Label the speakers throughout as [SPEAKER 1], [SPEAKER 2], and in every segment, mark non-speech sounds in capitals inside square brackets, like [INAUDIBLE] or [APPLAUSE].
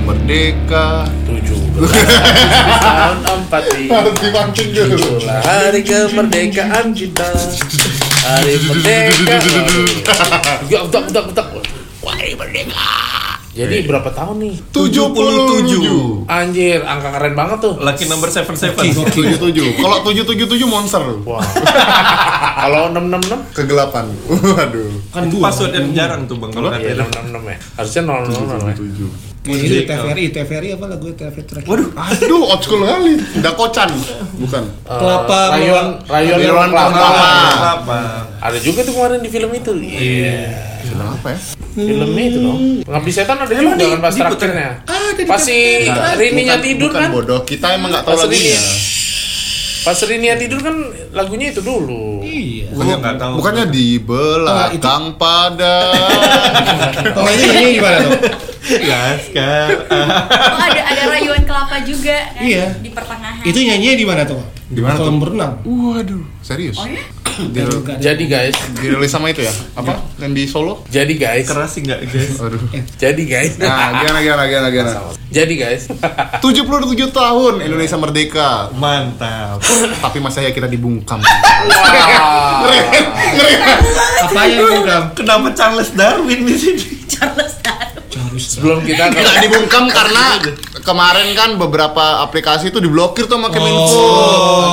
[SPEAKER 1] merdeka
[SPEAKER 2] tujuh tahun empat
[SPEAKER 1] harus dipancing dulu
[SPEAKER 2] Itulah hari kemerdekaan kita Hari merdeka Ya utak utak utak Hari merdeka Jadi berapa tahun nih?
[SPEAKER 1] 77
[SPEAKER 2] Anjir, angka keren banget tuh
[SPEAKER 3] Lucky number seven seven.
[SPEAKER 1] 77 kalau 777 monster
[SPEAKER 2] Wah Kalau 666
[SPEAKER 1] kegelapan waduh
[SPEAKER 3] Kan password yang jarang tuh bang kalau
[SPEAKER 2] Ya
[SPEAKER 3] KTP.
[SPEAKER 2] 666 ya Harusnya 000 ya
[SPEAKER 1] 7
[SPEAKER 4] Ini
[SPEAKER 3] oh.
[SPEAKER 4] TVRI, TVRI apa lagu TVRI terakhir? Waduh,
[SPEAKER 1] aduh old school kali dakocan bukan
[SPEAKER 4] kelapa
[SPEAKER 2] Eh, Rayuan Rayuan Rayuan
[SPEAKER 1] Kelapa.
[SPEAKER 3] Apa?
[SPEAKER 2] Ada juga tuh kemarin di film itu Iya
[SPEAKER 1] kenapa ya
[SPEAKER 2] Filmnya itu dong Pengabdi setan ada juga
[SPEAKER 3] di-
[SPEAKER 2] kan pas
[SPEAKER 3] diputer?
[SPEAKER 2] terakhirnya Pas si Rininya
[SPEAKER 1] Bukan-
[SPEAKER 2] tidur
[SPEAKER 1] Nah, bukan
[SPEAKER 2] kan ya?
[SPEAKER 1] bodoh kita emang nggak tahu ya.
[SPEAKER 2] Pas
[SPEAKER 1] lagunya
[SPEAKER 2] Rinia Pas Rinia tidur kan lagunya itu dulu
[SPEAKER 4] Iya.
[SPEAKER 3] Gua nggak tahu.
[SPEAKER 1] bukannya di belakang pada
[SPEAKER 4] Kalau
[SPEAKER 3] [LAUGHS]
[SPEAKER 4] Oh, ini ini gimana tuh?
[SPEAKER 3] Iya, Laskar.
[SPEAKER 5] Oh, ada ada rayuan kelapa juga kan
[SPEAKER 4] Iya.
[SPEAKER 5] di pertengahan.
[SPEAKER 4] Itu nyanyinya di mana tuh? Di
[SPEAKER 3] mana
[SPEAKER 4] Kolam berenang.
[SPEAKER 1] [LAUGHS] waduh serius
[SPEAKER 2] iya.
[SPEAKER 5] Oh ya?
[SPEAKER 1] Diril-
[SPEAKER 2] Jadi guys
[SPEAKER 1] dirilis sama itu ya apa yang di Solo
[SPEAKER 2] Jadi guys
[SPEAKER 3] Keras sih nggak guys?
[SPEAKER 1] aduh
[SPEAKER 2] Jadi guys
[SPEAKER 1] nah gimana gimana gimana gimana
[SPEAKER 2] Jadi guys
[SPEAKER 1] 77 tahun Indonesia merdeka
[SPEAKER 3] Mantap.
[SPEAKER 1] tapi masa ya kita dibungkam
[SPEAKER 4] Apa yang program?
[SPEAKER 3] Kenapa Charles Darwin di sini?
[SPEAKER 5] Charles Darwin.
[SPEAKER 2] Sebelum kita ke
[SPEAKER 1] nggak dibungkam karena kemarin kan beberapa aplikasi itu diblokir tuh sama Kemenko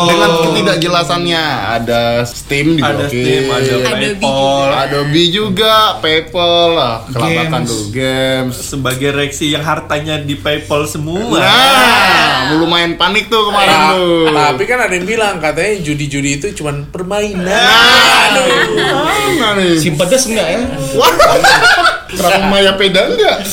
[SPEAKER 1] dengan ketidakjelasannya ada Steam diblokir
[SPEAKER 3] Ada Steam, ada
[SPEAKER 5] Adobe
[SPEAKER 3] PayPal.
[SPEAKER 1] Adobe juga PayPal lah kelabakan
[SPEAKER 4] Games.
[SPEAKER 1] tuh games
[SPEAKER 3] Sebagai reaksi yang hartanya di PayPal semua.
[SPEAKER 1] nah lumayan panik tuh kemarin
[SPEAKER 2] Ta-
[SPEAKER 1] tuh
[SPEAKER 2] Tapi kan ada yang bilang Katanya judi-judi itu cuman
[SPEAKER 3] Nah.
[SPEAKER 1] Ah,
[SPEAKER 2] permainan
[SPEAKER 1] aduh. Mana nih?
[SPEAKER 4] Si pedes enggak ya?
[SPEAKER 1] Wah, Kenapa Maya Peda enggak?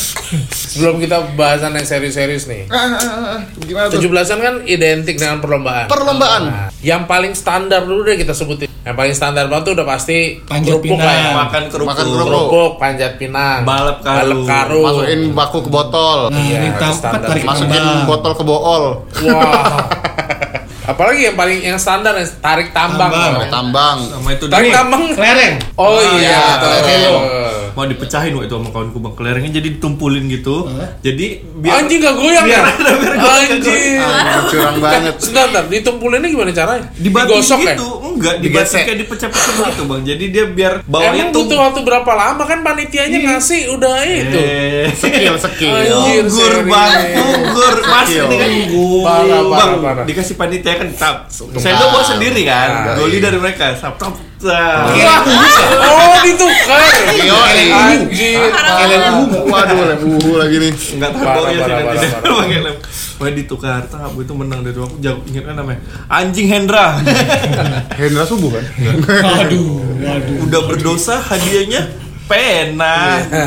[SPEAKER 2] Sebelum kita bahasan yang serius-serius nih
[SPEAKER 1] Ah, ah, ah, ah. Gimana tuh?
[SPEAKER 2] 17-an kan identik dengan perlombaan
[SPEAKER 1] Perlombaan.
[SPEAKER 2] Nah, Yang paling standar dulu deh kita sebutin Yang paling standar banget tuh udah pasti
[SPEAKER 4] Panjat
[SPEAKER 2] kerupuk
[SPEAKER 4] pinang.
[SPEAKER 2] lah ya
[SPEAKER 3] Makan kerupuk.
[SPEAKER 1] Makan kerupuk.
[SPEAKER 2] Kerupuk, panjat pinang
[SPEAKER 3] Balap karung.
[SPEAKER 2] Balap karung.
[SPEAKER 1] Masukin baku ke botol.
[SPEAKER 2] Iya,
[SPEAKER 4] Ini
[SPEAKER 2] standar.
[SPEAKER 4] tampak tarik
[SPEAKER 1] Masukin
[SPEAKER 4] tambang.
[SPEAKER 1] botol ke bool.
[SPEAKER 2] Wah. Apalagi yang paling yang standar yang tarik tambang.
[SPEAKER 4] Tambang.
[SPEAKER 1] Sama tambang.
[SPEAKER 3] Sama itu
[SPEAKER 2] Tarik
[SPEAKER 3] dulu.
[SPEAKER 2] tambang.
[SPEAKER 4] Kelereng.
[SPEAKER 3] Ah,
[SPEAKER 2] Oh
[SPEAKER 1] iya,
[SPEAKER 2] iya, tarik
[SPEAKER 1] tarik.
[SPEAKER 2] tambang.
[SPEAKER 3] Mau dipecahin waktu itu sama kawanku bang kelerengnya jadi ditumpulin gitu. Jadi biar
[SPEAKER 2] Anjing gak goyang ya?
[SPEAKER 3] biar- biar goyang,
[SPEAKER 2] Anjing.
[SPEAKER 1] Ah, curang banget.
[SPEAKER 2] Sebentar, sebentar, ditumpulinnya gimana caranya?
[SPEAKER 3] dibatin
[SPEAKER 2] Digosok ya?
[SPEAKER 3] gitu. Enggak,
[SPEAKER 1] Digesek.
[SPEAKER 3] dibatin kayak dipecah-pecah gitu bang. Jadi dia biar bawahnya
[SPEAKER 2] Emang
[SPEAKER 3] tuh
[SPEAKER 2] butuh waktu berapa lama kan panitianya ngasih udah itu.
[SPEAKER 3] Iya. Eh,
[SPEAKER 1] Skill, skill.
[SPEAKER 2] Anjing.
[SPEAKER 3] Gugur
[SPEAKER 2] serius.
[SPEAKER 3] bang, gugur mas
[SPEAKER 1] Skill.
[SPEAKER 3] ini kan
[SPEAKER 2] Parah,
[SPEAKER 3] Bang,
[SPEAKER 2] parah, parah.
[SPEAKER 3] dikasih panitia kan tap. Sendok bawa sendiri
[SPEAKER 2] Ah,
[SPEAKER 3] kan, goli dari mereka. Sap tap. tap.
[SPEAKER 2] Wah, oh ditukar.
[SPEAKER 1] Iya, iya.
[SPEAKER 2] Anjir.
[SPEAKER 1] Waduh, lebu lagi nih.
[SPEAKER 3] Enggak tahu
[SPEAKER 2] Parah,
[SPEAKER 3] baunya sih
[SPEAKER 2] parah,
[SPEAKER 3] nanti
[SPEAKER 2] parah,
[SPEAKER 3] dia
[SPEAKER 2] parah.
[SPEAKER 3] pakai lem. Wah ditukar tap itu menang dari aku jago ingat kan namanya. Anjing Hendra. [LAUGHS]
[SPEAKER 1] Hendra subuh kan?
[SPEAKER 4] Waduh, waduh.
[SPEAKER 3] Udah berdosa hadiahnya pena.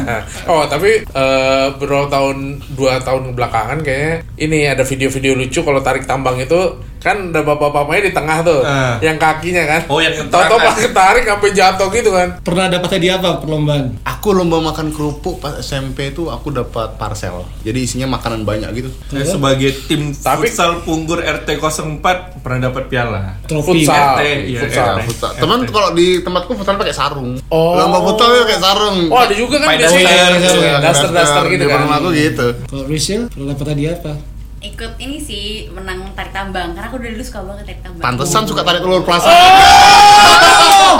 [SPEAKER 2] [LAUGHS] oh tapi eh bro tahun dua tahun belakangan kayaknya ini ada video-video lucu kalau tarik tambang itu kan ada bapak-bapaknya di tengah tuh
[SPEAKER 3] Ah.
[SPEAKER 2] yang kakinya kan
[SPEAKER 3] Oh, yang
[SPEAKER 2] toto
[SPEAKER 3] ketarik.
[SPEAKER 2] pas ketarik sampai jatuh gitu kan
[SPEAKER 4] Pernah dapat hadiah apa perlombaan?
[SPEAKER 1] Aku lomba makan kerupuk pas SMP itu aku dapat parcel. Jadi isinya makanan banyak gitu.
[SPEAKER 3] Saya Eh, sebagai tim
[SPEAKER 2] Iya. Tapi-
[SPEAKER 3] futsal punggur RT 04 pernah dapat piala.
[SPEAKER 4] Trofi.
[SPEAKER 2] Futsal.
[SPEAKER 4] kan?
[SPEAKER 3] RT, iya,
[SPEAKER 2] Futsal.
[SPEAKER 3] RT.
[SPEAKER 1] Ya, Futsal. Teman kalau di tempatku futsal pakai sarung.
[SPEAKER 2] Oh.
[SPEAKER 1] Lomba futsal dia pakai sarung.
[SPEAKER 2] oh ada juga kan
[SPEAKER 3] Pakai
[SPEAKER 2] biasanya
[SPEAKER 3] Hmm. daster,
[SPEAKER 4] iya,
[SPEAKER 2] daster daster gitu
[SPEAKER 1] Di
[SPEAKER 2] kan
[SPEAKER 1] pernah aku gitu.
[SPEAKER 4] Kalau Rizal, pernah dapat hadiah apa?
[SPEAKER 5] Ikut ini sih menang tarik tambang karena aku dari dulu suka banget tarik tambang.
[SPEAKER 1] Pantesan suka tarik telur plaza.
[SPEAKER 2] Oh,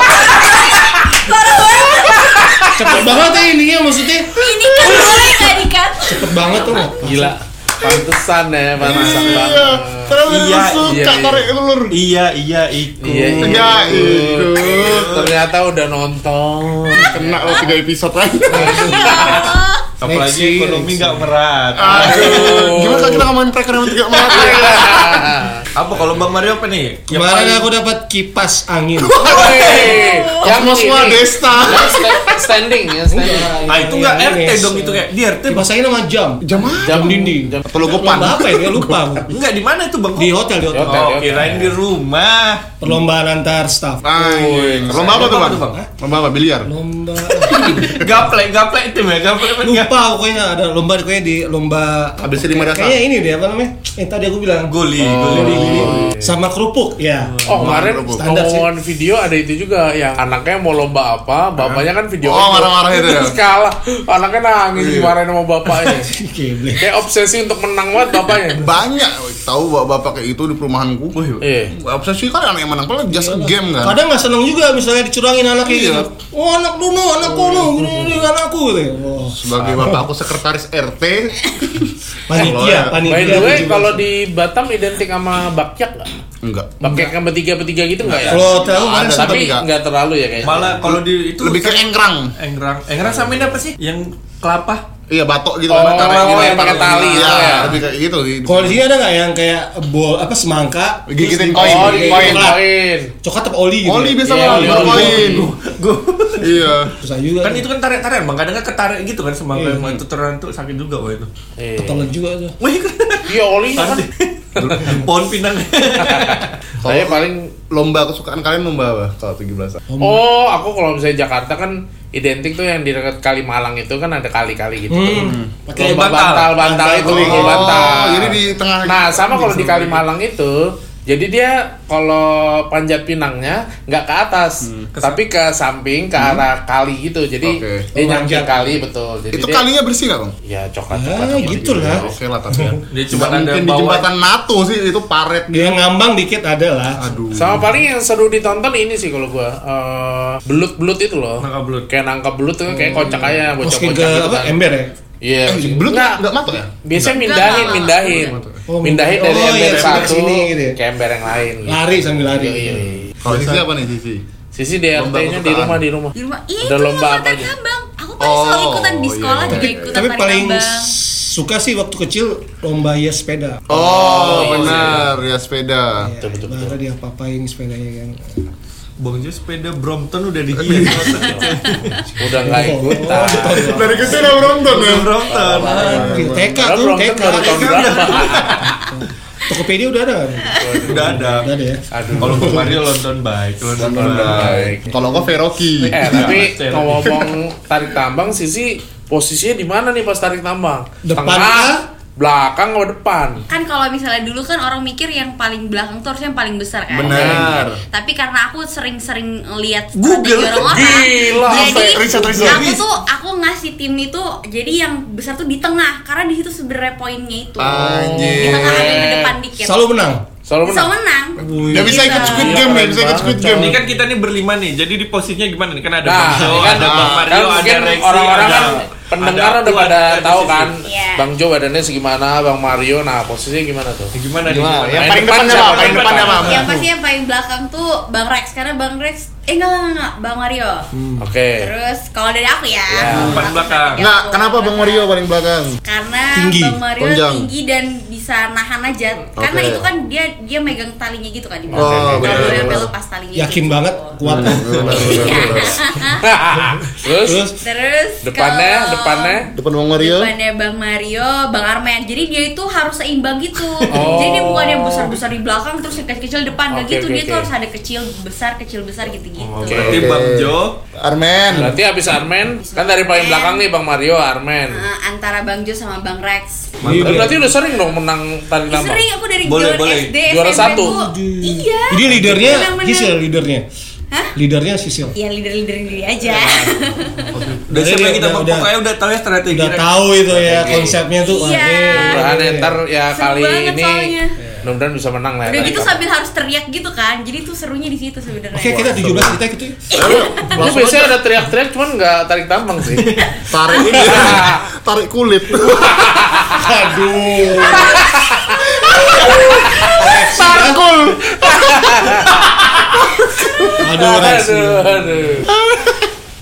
[SPEAKER 4] Cepet banget ya ininya maksudnya.
[SPEAKER 5] Ini kan boleh nggak dikat?
[SPEAKER 4] Cepet banget
[SPEAKER 3] Ya,
[SPEAKER 4] tuh.
[SPEAKER 2] gila pantesan ya pantesan banget
[SPEAKER 1] Iya, terlalu
[SPEAKER 3] Iya,
[SPEAKER 1] suka
[SPEAKER 2] iya, iya.
[SPEAKER 1] tarik telur.
[SPEAKER 3] Iya, iya, ikut.
[SPEAKER 2] Iya, iya.
[SPEAKER 1] Ya, ikut.
[SPEAKER 2] ternyata udah
[SPEAKER 3] [LAUGHS]
[SPEAKER 2] nonton
[SPEAKER 1] Kena lo tiga episode lagi.
[SPEAKER 3] Apalagi
[SPEAKER 4] Next
[SPEAKER 3] ekonomi
[SPEAKER 4] year,
[SPEAKER 3] nggak merata.
[SPEAKER 1] Ah. Aduh. Gimana kalau kita ngomongin perekonomian tiga malam?
[SPEAKER 2] Iya.
[SPEAKER 3] Apa kalau Bang Mario apa nih? Yang
[SPEAKER 4] Kemarin
[SPEAKER 3] paling-
[SPEAKER 4] aku dapat kipas angin.
[SPEAKER 2] Woi, yang
[SPEAKER 1] Kosmos
[SPEAKER 2] ini.
[SPEAKER 1] Desta.
[SPEAKER 2] Yang sta- standing ya standing
[SPEAKER 3] [LAUGHS] Ah
[SPEAKER 4] Iya,
[SPEAKER 3] itu nggak RT dong itu ya. kayak di RT
[SPEAKER 4] Kipas angin sama jam.
[SPEAKER 1] Jam apa?
[SPEAKER 4] Jam dinding.
[SPEAKER 2] jam-
[SPEAKER 1] Atau lo
[SPEAKER 4] Lomba apa ya? Dia Lupa.
[SPEAKER 3] [LAUGHS]
[SPEAKER 4] aku.
[SPEAKER 3] Enggak di mana itu Bang?
[SPEAKER 4] Di hotel, di hotel.
[SPEAKER 2] Di hotel, di
[SPEAKER 3] Oh,
[SPEAKER 2] hotel.
[SPEAKER 3] kirain di rumah. [LAUGHS]
[SPEAKER 4] Perlombaan antar staff.
[SPEAKER 1] Lomba apa tuh bang?
[SPEAKER 3] Lomba apa tuh, Bang?
[SPEAKER 4] [LAUGHS]
[SPEAKER 1] Lomba apa? Biliar?
[SPEAKER 4] Lomba
[SPEAKER 3] gaplek gaplek tim ya gaplek kan gaplek.
[SPEAKER 4] lupa pokoknya ada lomba kayaknya di lomba
[SPEAKER 1] Habis ini merasa.
[SPEAKER 4] kayaknya ini deh apa namanya yang tadi aku bilang
[SPEAKER 3] goli goli
[SPEAKER 4] sama kerupuk ya [LAUGHS]
[SPEAKER 2] Oh kemarin
[SPEAKER 1] Kerupuk.
[SPEAKER 4] Standar sih.
[SPEAKER 2] ngomongan video ada itu juga yang anaknya mau lomba apa, bapaknya kan video
[SPEAKER 1] Oh, marah-marah itu ya?
[SPEAKER 2] [LAUGHS]
[SPEAKER 1] Iya.
[SPEAKER 2] Terus kalah, anaknya nangis dimarahin sama bapaknya.
[SPEAKER 4] Gile.
[SPEAKER 2] Kayak obsesi untuk menang banget bapaknya.
[SPEAKER 1] banyak tahu bapak-bapak kayak itu di perumahanku
[SPEAKER 2] Iya.
[SPEAKER 1] obsesi kan anak yang menang paling just game kan
[SPEAKER 4] kadang nggak seneng juga misalnya dicurangin anaknya
[SPEAKER 1] Iya.
[SPEAKER 4] gitu. oh anak dulu anak kono gini gini anakku gitu Wah.
[SPEAKER 1] sebagai bapak aku sekretaris RT
[SPEAKER 4] panitia panitia
[SPEAKER 2] By the way,
[SPEAKER 4] tujuh belas.
[SPEAKER 2] kalau di Batam identik sama bakyak nggak?
[SPEAKER 1] enggak
[SPEAKER 2] Bakyak yang bertiga-bertiga gitu nggak ya?
[SPEAKER 4] kalau tahu
[SPEAKER 1] Nggak
[SPEAKER 4] kan
[SPEAKER 1] ada,
[SPEAKER 4] sempet-
[SPEAKER 1] tapi
[SPEAKER 2] Tapi
[SPEAKER 1] nggak.
[SPEAKER 2] nggak terlalu ya kayaknya.
[SPEAKER 3] malah kalau di itu
[SPEAKER 1] lebih ke engkrang
[SPEAKER 3] engrang engrang sama ini apa sih yang kelapa
[SPEAKER 1] [LAUGHS] iya batok gitu
[SPEAKER 2] Oh,
[SPEAKER 1] kan, karena
[SPEAKER 2] oh,
[SPEAKER 1] gitu,
[SPEAKER 2] yang pakai tali,
[SPEAKER 1] Iya,
[SPEAKER 2] oh, ya.
[SPEAKER 1] lebih kayak gitu di-
[SPEAKER 4] kalau di sini ada nggak yang kayak bol apa semangka
[SPEAKER 1] gigitin
[SPEAKER 4] terus
[SPEAKER 1] koin
[SPEAKER 2] Oh,
[SPEAKER 4] di-
[SPEAKER 2] di
[SPEAKER 1] koin
[SPEAKER 4] coklat.
[SPEAKER 2] koin.
[SPEAKER 4] coklat apa oli gitu
[SPEAKER 1] oli
[SPEAKER 4] ya?
[SPEAKER 1] biasa
[SPEAKER 2] Iya,
[SPEAKER 1] lah
[SPEAKER 2] oli,
[SPEAKER 1] baru
[SPEAKER 2] oli.
[SPEAKER 1] koin
[SPEAKER 3] gue
[SPEAKER 1] iya
[SPEAKER 4] susah juga
[SPEAKER 3] kan itu kan tarik tarian bang kadang kan ketarik gitu kan semangka
[SPEAKER 4] Iya.
[SPEAKER 3] emang itu terantuk sakit juga wah itu [LAUGHS]
[SPEAKER 2] Iya.
[SPEAKER 4] telan juga tuh
[SPEAKER 3] wah itu
[SPEAKER 2] Iya oli kan.
[SPEAKER 3] pohon pinang
[SPEAKER 2] Saya paling
[SPEAKER 1] lomba kesukaan kalian lomba apa kalau 17
[SPEAKER 2] Oh, aku kalau misalnya Jakarta kan identik tuh yang di dekat Kalimalang itu kan ada kali-kali gitu.
[SPEAKER 4] Hmm.
[SPEAKER 2] Pakai
[SPEAKER 3] Pakai
[SPEAKER 2] bantal, bantal,
[SPEAKER 3] bantal.
[SPEAKER 2] itu
[SPEAKER 1] Oh,
[SPEAKER 2] oh, bantal.
[SPEAKER 1] jadi di tengah-
[SPEAKER 2] Nah, sama kalau di Kalimalang itu, jadi dia kalau panjat pinangnya nggak ke atas,
[SPEAKER 3] Ke-
[SPEAKER 2] tapi ke samping ke arah kali gitu. Jadi
[SPEAKER 1] Oke.
[SPEAKER 2] dia
[SPEAKER 4] Oh,
[SPEAKER 2] nyangkut
[SPEAKER 4] manjat.
[SPEAKER 2] kali betul. Jadi
[SPEAKER 1] itu
[SPEAKER 2] dia,
[SPEAKER 1] kalinya bersih nggak bang
[SPEAKER 2] ya coklat coklat.
[SPEAKER 4] ah gitu lah
[SPEAKER 1] oke lah tapi [LAUGHS] ya.
[SPEAKER 3] Dia cuma
[SPEAKER 1] Nggak
[SPEAKER 3] ada
[SPEAKER 1] mungkin di
[SPEAKER 3] bawah.
[SPEAKER 1] jembatan NATO sih itu paret
[SPEAKER 4] dia ngambang dikit ada lah
[SPEAKER 1] aduh
[SPEAKER 2] Sama paling yang seru ditonton ini sih kalau gua eh, belut-belut itu loh.
[SPEAKER 3] Nangka belut.
[SPEAKER 2] Kayak nangka belut tuh kayak kocak aja bocah-bocah
[SPEAKER 4] masukin ke
[SPEAKER 2] gitu
[SPEAKER 4] apa
[SPEAKER 2] kan.
[SPEAKER 4] ember ya
[SPEAKER 2] Iya.
[SPEAKER 1] eh, belum
[SPEAKER 2] Nggak,
[SPEAKER 1] nggak matok ya
[SPEAKER 2] biasanya
[SPEAKER 5] Enggak,
[SPEAKER 2] mindahin,
[SPEAKER 5] enggak,
[SPEAKER 2] mindahin.
[SPEAKER 4] Oh,
[SPEAKER 2] mindahin
[SPEAKER 4] mindahin.
[SPEAKER 2] dari
[SPEAKER 4] Oh,
[SPEAKER 2] ember
[SPEAKER 4] iya, sampai
[SPEAKER 2] satu
[SPEAKER 4] sini gitu ya.
[SPEAKER 2] ke ember yang lain. gitu.
[SPEAKER 4] lari sambil lari
[SPEAKER 2] Iya, iya, iya.
[SPEAKER 1] kalau sisi apa nih sisi
[SPEAKER 2] Sisi DRT-nya di
[SPEAKER 1] kesukaan.
[SPEAKER 2] rumah di rumah.
[SPEAKER 5] Di rumah, iya
[SPEAKER 2] Ada
[SPEAKER 5] itu
[SPEAKER 2] lomba
[SPEAKER 5] lomba
[SPEAKER 2] apa aja?
[SPEAKER 5] tambang. Aku paling selalu
[SPEAKER 1] Oh,
[SPEAKER 5] ikutan di
[SPEAKER 1] iya,
[SPEAKER 5] sekolah
[SPEAKER 1] iya,
[SPEAKER 5] juga
[SPEAKER 1] iya.
[SPEAKER 5] ikutan
[SPEAKER 4] tapi
[SPEAKER 5] tarik
[SPEAKER 4] paling
[SPEAKER 5] tambang.
[SPEAKER 4] suka sih waktu kecil lomba hias sepeda
[SPEAKER 1] oh, benar ya sepeda
[SPEAKER 4] Ya,
[SPEAKER 2] Ah, Betul, betul, betul.
[SPEAKER 4] Baru dia papain sepedanya kan
[SPEAKER 3] bang Jo sepeda Brompton udah digiat
[SPEAKER 2] Udah nggak
[SPEAKER 4] Oh,
[SPEAKER 2] ikutan.
[SPEAKER 1] dari kecil udah Iya. nonton ya
[SPEAKER 3] Brompton
[SPEAKER 4] Gila, TK
[SPEAKER 2] Kalau
[SPEAKER 4] tuh,
[SPEAKER 2] belum kan
[SPEAKER 4] TK
[SPEAKER 2] baru tahun berapa?
[SPEAKER 4] Tokopedia udah ada kan?
[SPEAKER 3] udah ada
[SPEAKER 4] Udah ada ya
[SPEAKER 2] Aduh.
[SPEAKER 3] kalau Bang Mario London baik London
[SPEAKER 2] Baik.
[SPEAKER 1] kalau gua Veroki
[SPEAKER 2] Eh
[SPEAKER 4] [LAUGHS]
[SPEAKER 2] tapi
[SPEAKER 3] Iya.
[SPEAKER 2] ngomong tarik tambang sisi posisinya di mana nih pas tarik tambang?
[SPEAKER 4] Depan
[SPEAKER 2] Tengah,
[SPEAKER 4] kah?
[SPEAKER 2] belakang atau depan?
[SPEAKER 5] Kan kalau misalnya dulu kan orang mikir yang paling belakang tuh harusnya yang paling besar kan.
[SPEAKER 1] Benar.
[SPEAKER 5] Tapi karena aku sering-sering lihat strategi
[SPEAKER 3] Google.
[SPEAKER 5] orang-orang,
[SPEAKER 2] Gila,
[SPEAKER 5] jadi
[SPEAKER 2] sampai
[SPEAKER 1] riset-riset.
[SPEAKER 5] aku tuh aku ngasih tim itu jadi yang besar tuh di tengah karena di situ sebenarnya poinnya itu. Di
[SPEAKER 1] Anjir.
[SPEAKER 5] tengah agak ke depan dikit.
[SPEAKER 4] Selalu menang
[SPEAKER 2] Selalu
[SPEAKER 5] Bisa
[SPEAKER 2] menang.
[SPEAKER 5] menang.
[SPEAKER 1] dia bisa ikut Squid Game ya bisa ikut Squid Game
[SPEAKER 3] ini kan kita nih berlima nih jadi di posisinya gimana nih kan ada
[SPEAKER 2] Nah,
[SPEAKER 3] Bang Jo
[SPEAKER 2] ini kan
[SPEAKER 3] ada Bang
[SPEAKER 2] kan
[SPEAKER 3] Mario ada
[SPEAKER 2] mungkin
[SPEAKER 3] Rexy
[SPEAKER 2] orang-orang
[SPEAKER 3] ada
[SPEAKER 2] kan pendengar
[SPEAKER 3] ada
[SPEAKER 2] udah
[SPEAKER 3] aku,
[SPEAKER 2] pada
[SPEAKER 3] ada
[SPEAKER 2] tahu
[SPEAKER 3] Sisi.
[SPEAKER 2] kan
[SPEAKER 5] Iya.
[SPEAKER 2] Bang Jo badannya segimana, Bang Mario nah posisinya gimana tuh?
[SPEAKER 3] Ya, gimana nih
[SPEAKER 1] Gimana? Yang
[SPEAKER 2] Yang
[SPEAKER 1] paling
[SPEAKER 2] depan
[SPEAKER 1] Nah, depannya
[SPEAKER 2] siapa?
[SPEAKER 1] apa? Paling
[SPEAKER 3] Yang
[SPEAKER 1] depannya Iya. apa?
[SPEAKER 3] depan.
[SPEAKER 5] Yang pasti yang paling belakang tuh Bang Rex karena Bang Rex eh enggak enggak, enggak, Bang Mario.
[SPEAKER 3] Hmm.
[SPEAKER 2] Oke.
[SPEAKER 5] Terus kalau dari aku ya.
[SPEAKER 2] Hmm. Ya,
[SPEAKER 5] kalau
[SPEAKER 3] paling
[SPEAKER 5] aku
[SPEAKER 3] belakang.
[SPEAKER 5] strategi
[SPEAKER 1] Enggak,
[SPEAKER 5] aku.
[SPEAKER 1] Nah, kenapa Bang Mario paling belakang?
[SPEAKER 5] Karena
[SPEAKER 4] Tinggi,
[SPEAKER 5] Bang Mario
[SPEAKER 1] panjang.
[SPEAKER 5] tinggi dan bisa nahan aja. Karena
[SPEAKER 1] Oke.
[SPEAKER 5] itu kan dia dia megang talinya gitu kan di
[SPEAKER 1] Oh, benar,
[SPEAKER 5] Kalau dia
[SPEAKER 1] benar.
[SPEAKER 5] lepas talinya.
[SPEAKER 4] Yakin
[SPEAKER 5] gitu.
[SPEAKER 4] banget kuat
[SPEAKER 1] Iya,
[SPEAKER 2] [LAUGHS] Terus
[SPEAKER 4] Terus
[SPEAKER 5] Terus
[SPEAKER 2] depannya,
[SPEAKER 5] kalau-
[SPEAKER 2] depannya
[SPEAKER 1] Depan Bang Mario.
[SPEAKER 5] Depannya Bang Mario, Bang Arman. Jadi dia itu harus seimbang gitu.
[SPEAKER 2] Oh.
[SPEAKER 5] Jadi dia bukan yang besar-besar di belakang terus yang kecil-kecil di depan. Nggak
[SPEAKER 2] Oke,
[SPEAKER 5] gitu,
[SPEAKER 2] oke,
[SPEAKER 5] dia tuh
[SPEAKER 2] oke.
[SPEAKER 5] harus ada kecil besar, kecil besar gitu-gitu.
[SPEAKER 2] Oke.
[SPEAKER 3] berarti
[SPEAKER 1] Oke.
[SPEAKER 3] Bang Jo
[SPEAKER 1] Armen.
[SPEAKER 2] berarti habis Armen kan dari paling
[SPEAKER 5] Iya.
[SPEAKER 2] belakang nih Bang Mario Armen.
[SPEAKER 5] Eh, antara Bang Jo sama Bang Rex.
[SPEAKER 4] iya,
[SPEAKER 2] Eh,
[SPEAKER 3] Iya.
[SPEAKER 2] Berarti udah sering dong menang tarik
[SPEAKER 5] Ih,
[SPEAKER 2] tambang.
[SPEAKER 5] sering aku dari
[SPEAKER 3] Boleh,
[SPEAKER 5] zaman
[SPEAKER 3] boleh.
[SPEAKER 5] SD,
[SPEAKER 2] Juara
[SPEAKER 5] SMP
[SPEAKER 2] satu.
[SPEAKER 5] tuh- Iya.
[SPEAKER 4] Jadi leadernya
[SPEAKER 5] Menang-menang.
[SPEAKER 4] Sisil leadernya
[SPEAKER 5] Hah?
[SPEAKER 4] Leadernya Sisil
[SPEAKER 5] Ya leader-leader diri aja.
[SPEAKER 3] udah siapa
[SPEAKER 4] Udah,
[SPEAKER 3] kita
[SPEAKER 4] udah,
[SPEAKER 3] Bang?
[SPEAKER 4] udah.
[SPEAKER 3] pokoknya udah tahu ya strategi
[SPEAKER 4] Udah tahu itu ya konsepnya tuh wah,
[SPEAKER 5] Iya.
[SPEAKER 4] ini.
[SPEAKER 2] Mudah-mudahan ya, ntar ya
[SPEAKER 5] Seru
[SPEAKER 2] kali
[SPEAKER 5] banget
[SPEAKER 2] ini
[SPEAKER 5] soalnya.
[SPEAKER 2] mudah-mudahan bisa menang lah. ya,
[SPEAKER 5] [LAUGHS] Udah
[SPEAKER 2] tarik
[SPEAKER 5] gitu
[SPEAKER 2] tambang.
[SPEAKER 5] sambil harus teriak gitu kan. Jadi tuh serunya di situ sebenarnya.
[SPEAKER 4] Oke kita 17 kita gitu
[SPEAKER 1] Iya.
[SPEAKER 2] Lu biasanya ada teriak-teriak cuman nggak tarik tambang sih.
[SPEAKER 1] Tarik [LAUGHS] ini. Tarik kulit.
[SPEAKER 4] Aduh
[SPEAKER 1] Tarkul.
[SPEAKER 4] Aduh Rex
[SPEAKER 2] aduh, aduh.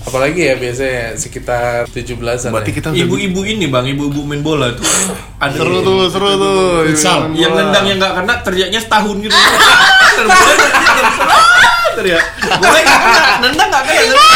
[SPEAKER 2] Apalagi ya biasanya sekitar 17-an.
[SPEAKER 1] Berarti
[SPEAKER 2] ya.
[SPEAKER 1] kita udah
[SPEAKER 3] ibu-ibu ini Bang ibu-ibu main bola tuh ada
[SPEAKER 1] seru tuh, seru tuh.
[SPEAKER 4] Futsal.
[SPEAKER 3] yang nendang yang nggak kena teriaknya setahun
[SPEAKER 2] [LAUGHS]
[SPEAKER 3] gitu [LAUGHS] Terboleh, terboleh, teriak boleh nggak kena nendang nggak kena
[SPEAKER 2] [LAUGHS]
[SPEAKER 3] nendang.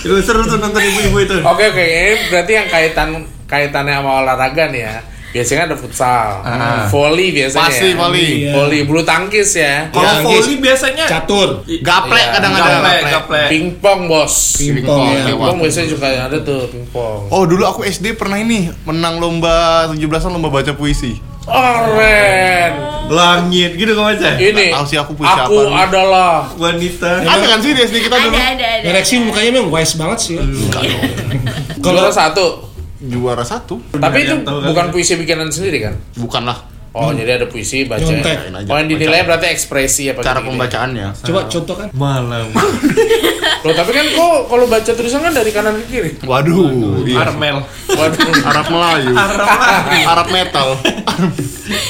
[SPEAKER 3] itu
[SPEAKER 2] Oh,
[SPEAKER 3] seru tuh nonton ibu-ibu itu
[SPEAKER 2] Oke oke, ini berarti yang kaitan kaitannya sama olahraga nih ya. biasanya ada futsal, Hmm,
[SPEAKER 3] Ah.
[SPEAKER 2] volley biasanya, ya.
[SPEAKER 1] Pasti volley.
[SPEAKER 4] Iya.
[SPEAKER 2] volley bulu tangkis ya,
[SPEAKER 3] Kalau
[SPEAKER 4] Iya,
[SPEAKER 3] volley
[SPEAKER 4] guys.
[SPEAKER 3] biasanya
[SPEAKER 4] Catur.
[SPEAKER 1] Gaplek
[SPEAKER 2] Iya,
[SPEAKER 1] kadang ada.
[SPEAKER 3] gaplek, gaplek.
[SPEAKER 2] pingpong bos,
[SPEAKER 4] Pingpong, ya.
[SPEAKER 2] pingpong biasanya juga ada tuh pingpong.
[SPEAKER 1] Oh dulu aku SD pernah ini menang lomba 17-an lomba baca puisi.
[SPEAKER 2] Oh, keren.
[SPEAKER 3] Langit gitu kok aja.
[SPEAKER 2] Ini
[SPEAKER 1] Nggak tahu sih aku puisi
[SPEAKER 2] aku
[SPEAKER 1] apa.
[SPEAKER 2] adalah
[SPEAKER 3] Wanita.
[SPEAKER 1] Ada kan sih di SD kita dulu?
[SPEAKER 5] ada ada ada
[SPEAKER 4] Ereksi mukanya memang wise banget sih.
[SPEAKER 2] kalau
[SPEAKER 4] Kalau
[SPEAKER 2] satu.
[SPEAKER 1] Juara satu,
[SPEAKER 2] Tapi itu
[SPEAKER 3] yang tahu kan?
[SPEAKER 2] bukan puisi bikinan sendiri kan?
[SPEAKER 1] bukanlah
[SPEAKER 2] Oh, jadi ada puisi baca.
[SPEAKER 4] Nyontek.
[SPEAKER 2] Oh, yang dinilai berarti ekspresi apa
[SPEAKER 1] cara
[SPEAKER 2] gitu-gitu ya?
[SPEAKER 1] pembacaannya.
[SPEAKER 4] coba kan. contohkan.
[SPEAKER 2] [LAUGHS]
[SPEAKER 3] Malam.
[SPEAKER 2] Loh, tapi kan kok kalau baca tulisan kan dari kanan ke kiri.
[SPEAKER 1] Waduh, iya.
[SPEAKER 3] Armel.
[SPEAKER 2] Waduh.
[SPEAKER 1] Arab Melayu, Arab metal.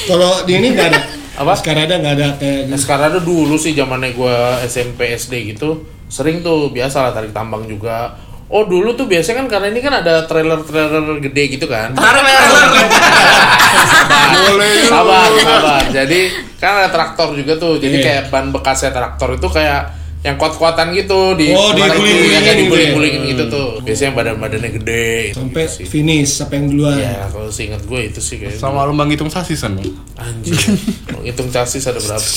[SPEAKER 4] Kalau di ini nggak ada.
[SPEAKER 2] Apa?
[SPEAKER 4] Sekarang ada nggak ada kayak gitu.
[SPEAKER 2] Nah, sekarang ada dulu sih zamannya gua SMP SD gitu, sering tuh biasa lah tarik tambang juga. Oh dulu tuh biasanya kan karena ini kan ada trailer-trailer gede gitu kan.
[SPEAKER 1] Boleh yuk.
[SPEAKER 2] sabar sabar jadi kan ada traktor juga tuh jadi
[SPEAKER 4] Iya.
[SPEAKER 2] kayak ban bekasnya traktor itu kayak yang kuat-kuatan gitu di
[SPEAKER 4] Oh,
[SPEAKER 2] mana itu,
[SPEAKER 4] diguling-gulingin
[SPEAKER 2] ya, kayak
[SPEAKER 4] gitu ya.
[SPEAKER 2] diguling-gulingin gitu tuh biasanya badan-badannya gede
[SPEAKER 4] sampai
[SPEAKER 2] gitu sih.
[SPEAKER 4] finish siapa yang duluan?
[SPEAKER 2] ya kalau seingat gue itu sih kayak
[SPEAKER 1] Sama lomba ngitung sasisan. Bang.
[SPEAKER 2] anjir
[SPEAKER 4] [LAUGHS]
[SPEAKER 2] hitung chassis ada berapa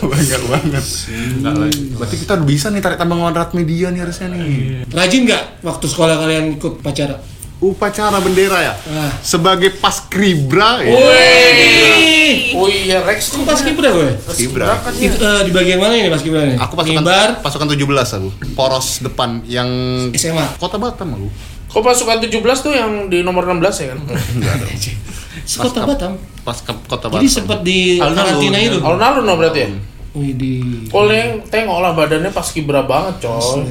[SPEAKER 1] Banyak banget. Hmm. Berarti kita udah bisa nih tarik tambang warat media nih harusnya nih.
[SPEAKER 4] Rajin nggak waktu sekolah kalian ikut pacara?
[SPEAKER 1] Upacara bendera ya.
[SPEAKER 4] Ah. Oh, iya.
[SPEAKER 1] Sebagai paskribra ya.
[SPEAKER 2] Wih, oh iya Rex tuh
[SPEAKER 4] Itu pas kibra gue.
[SPEAKER 1] Kibra.
[SPEAKER 4] Itu, eh, di bagian mana ini pas kibra
[SPEAKER 1] Oh,
[SPEAKER 4] ini?
[SPEAKER 1] iya. Aku pasukan
[SPEAKER 4] Ngibar,
[SPEAKER 1] pasukan 17 aku. Poros depan yang
[SPEAKER 4] SMA.
[SPEAKER 1] Kota Batam aku.
[SPEAKER 2] Kok pasukan 17 tuh yang di nomor 16 ya
[SPEAKER 4] [LAUGHS]
[SPEAKER 2] kan?
[SPEAKER 4] sekota Batam.
[SPEAKER 1] Pas ke Kota Batam.
[SPEAKER 4] Jadi sempat di
[SPEAKER 3] Alun-alun.
[SPEAKER 4] karantina itu.
[SPEAKER 2] Alun-alun dong berarti ya?
[SPEAKER 4] Wih di.
[SPEAKER 2] Oh, yang tengok lah badannya pas kibra banget coy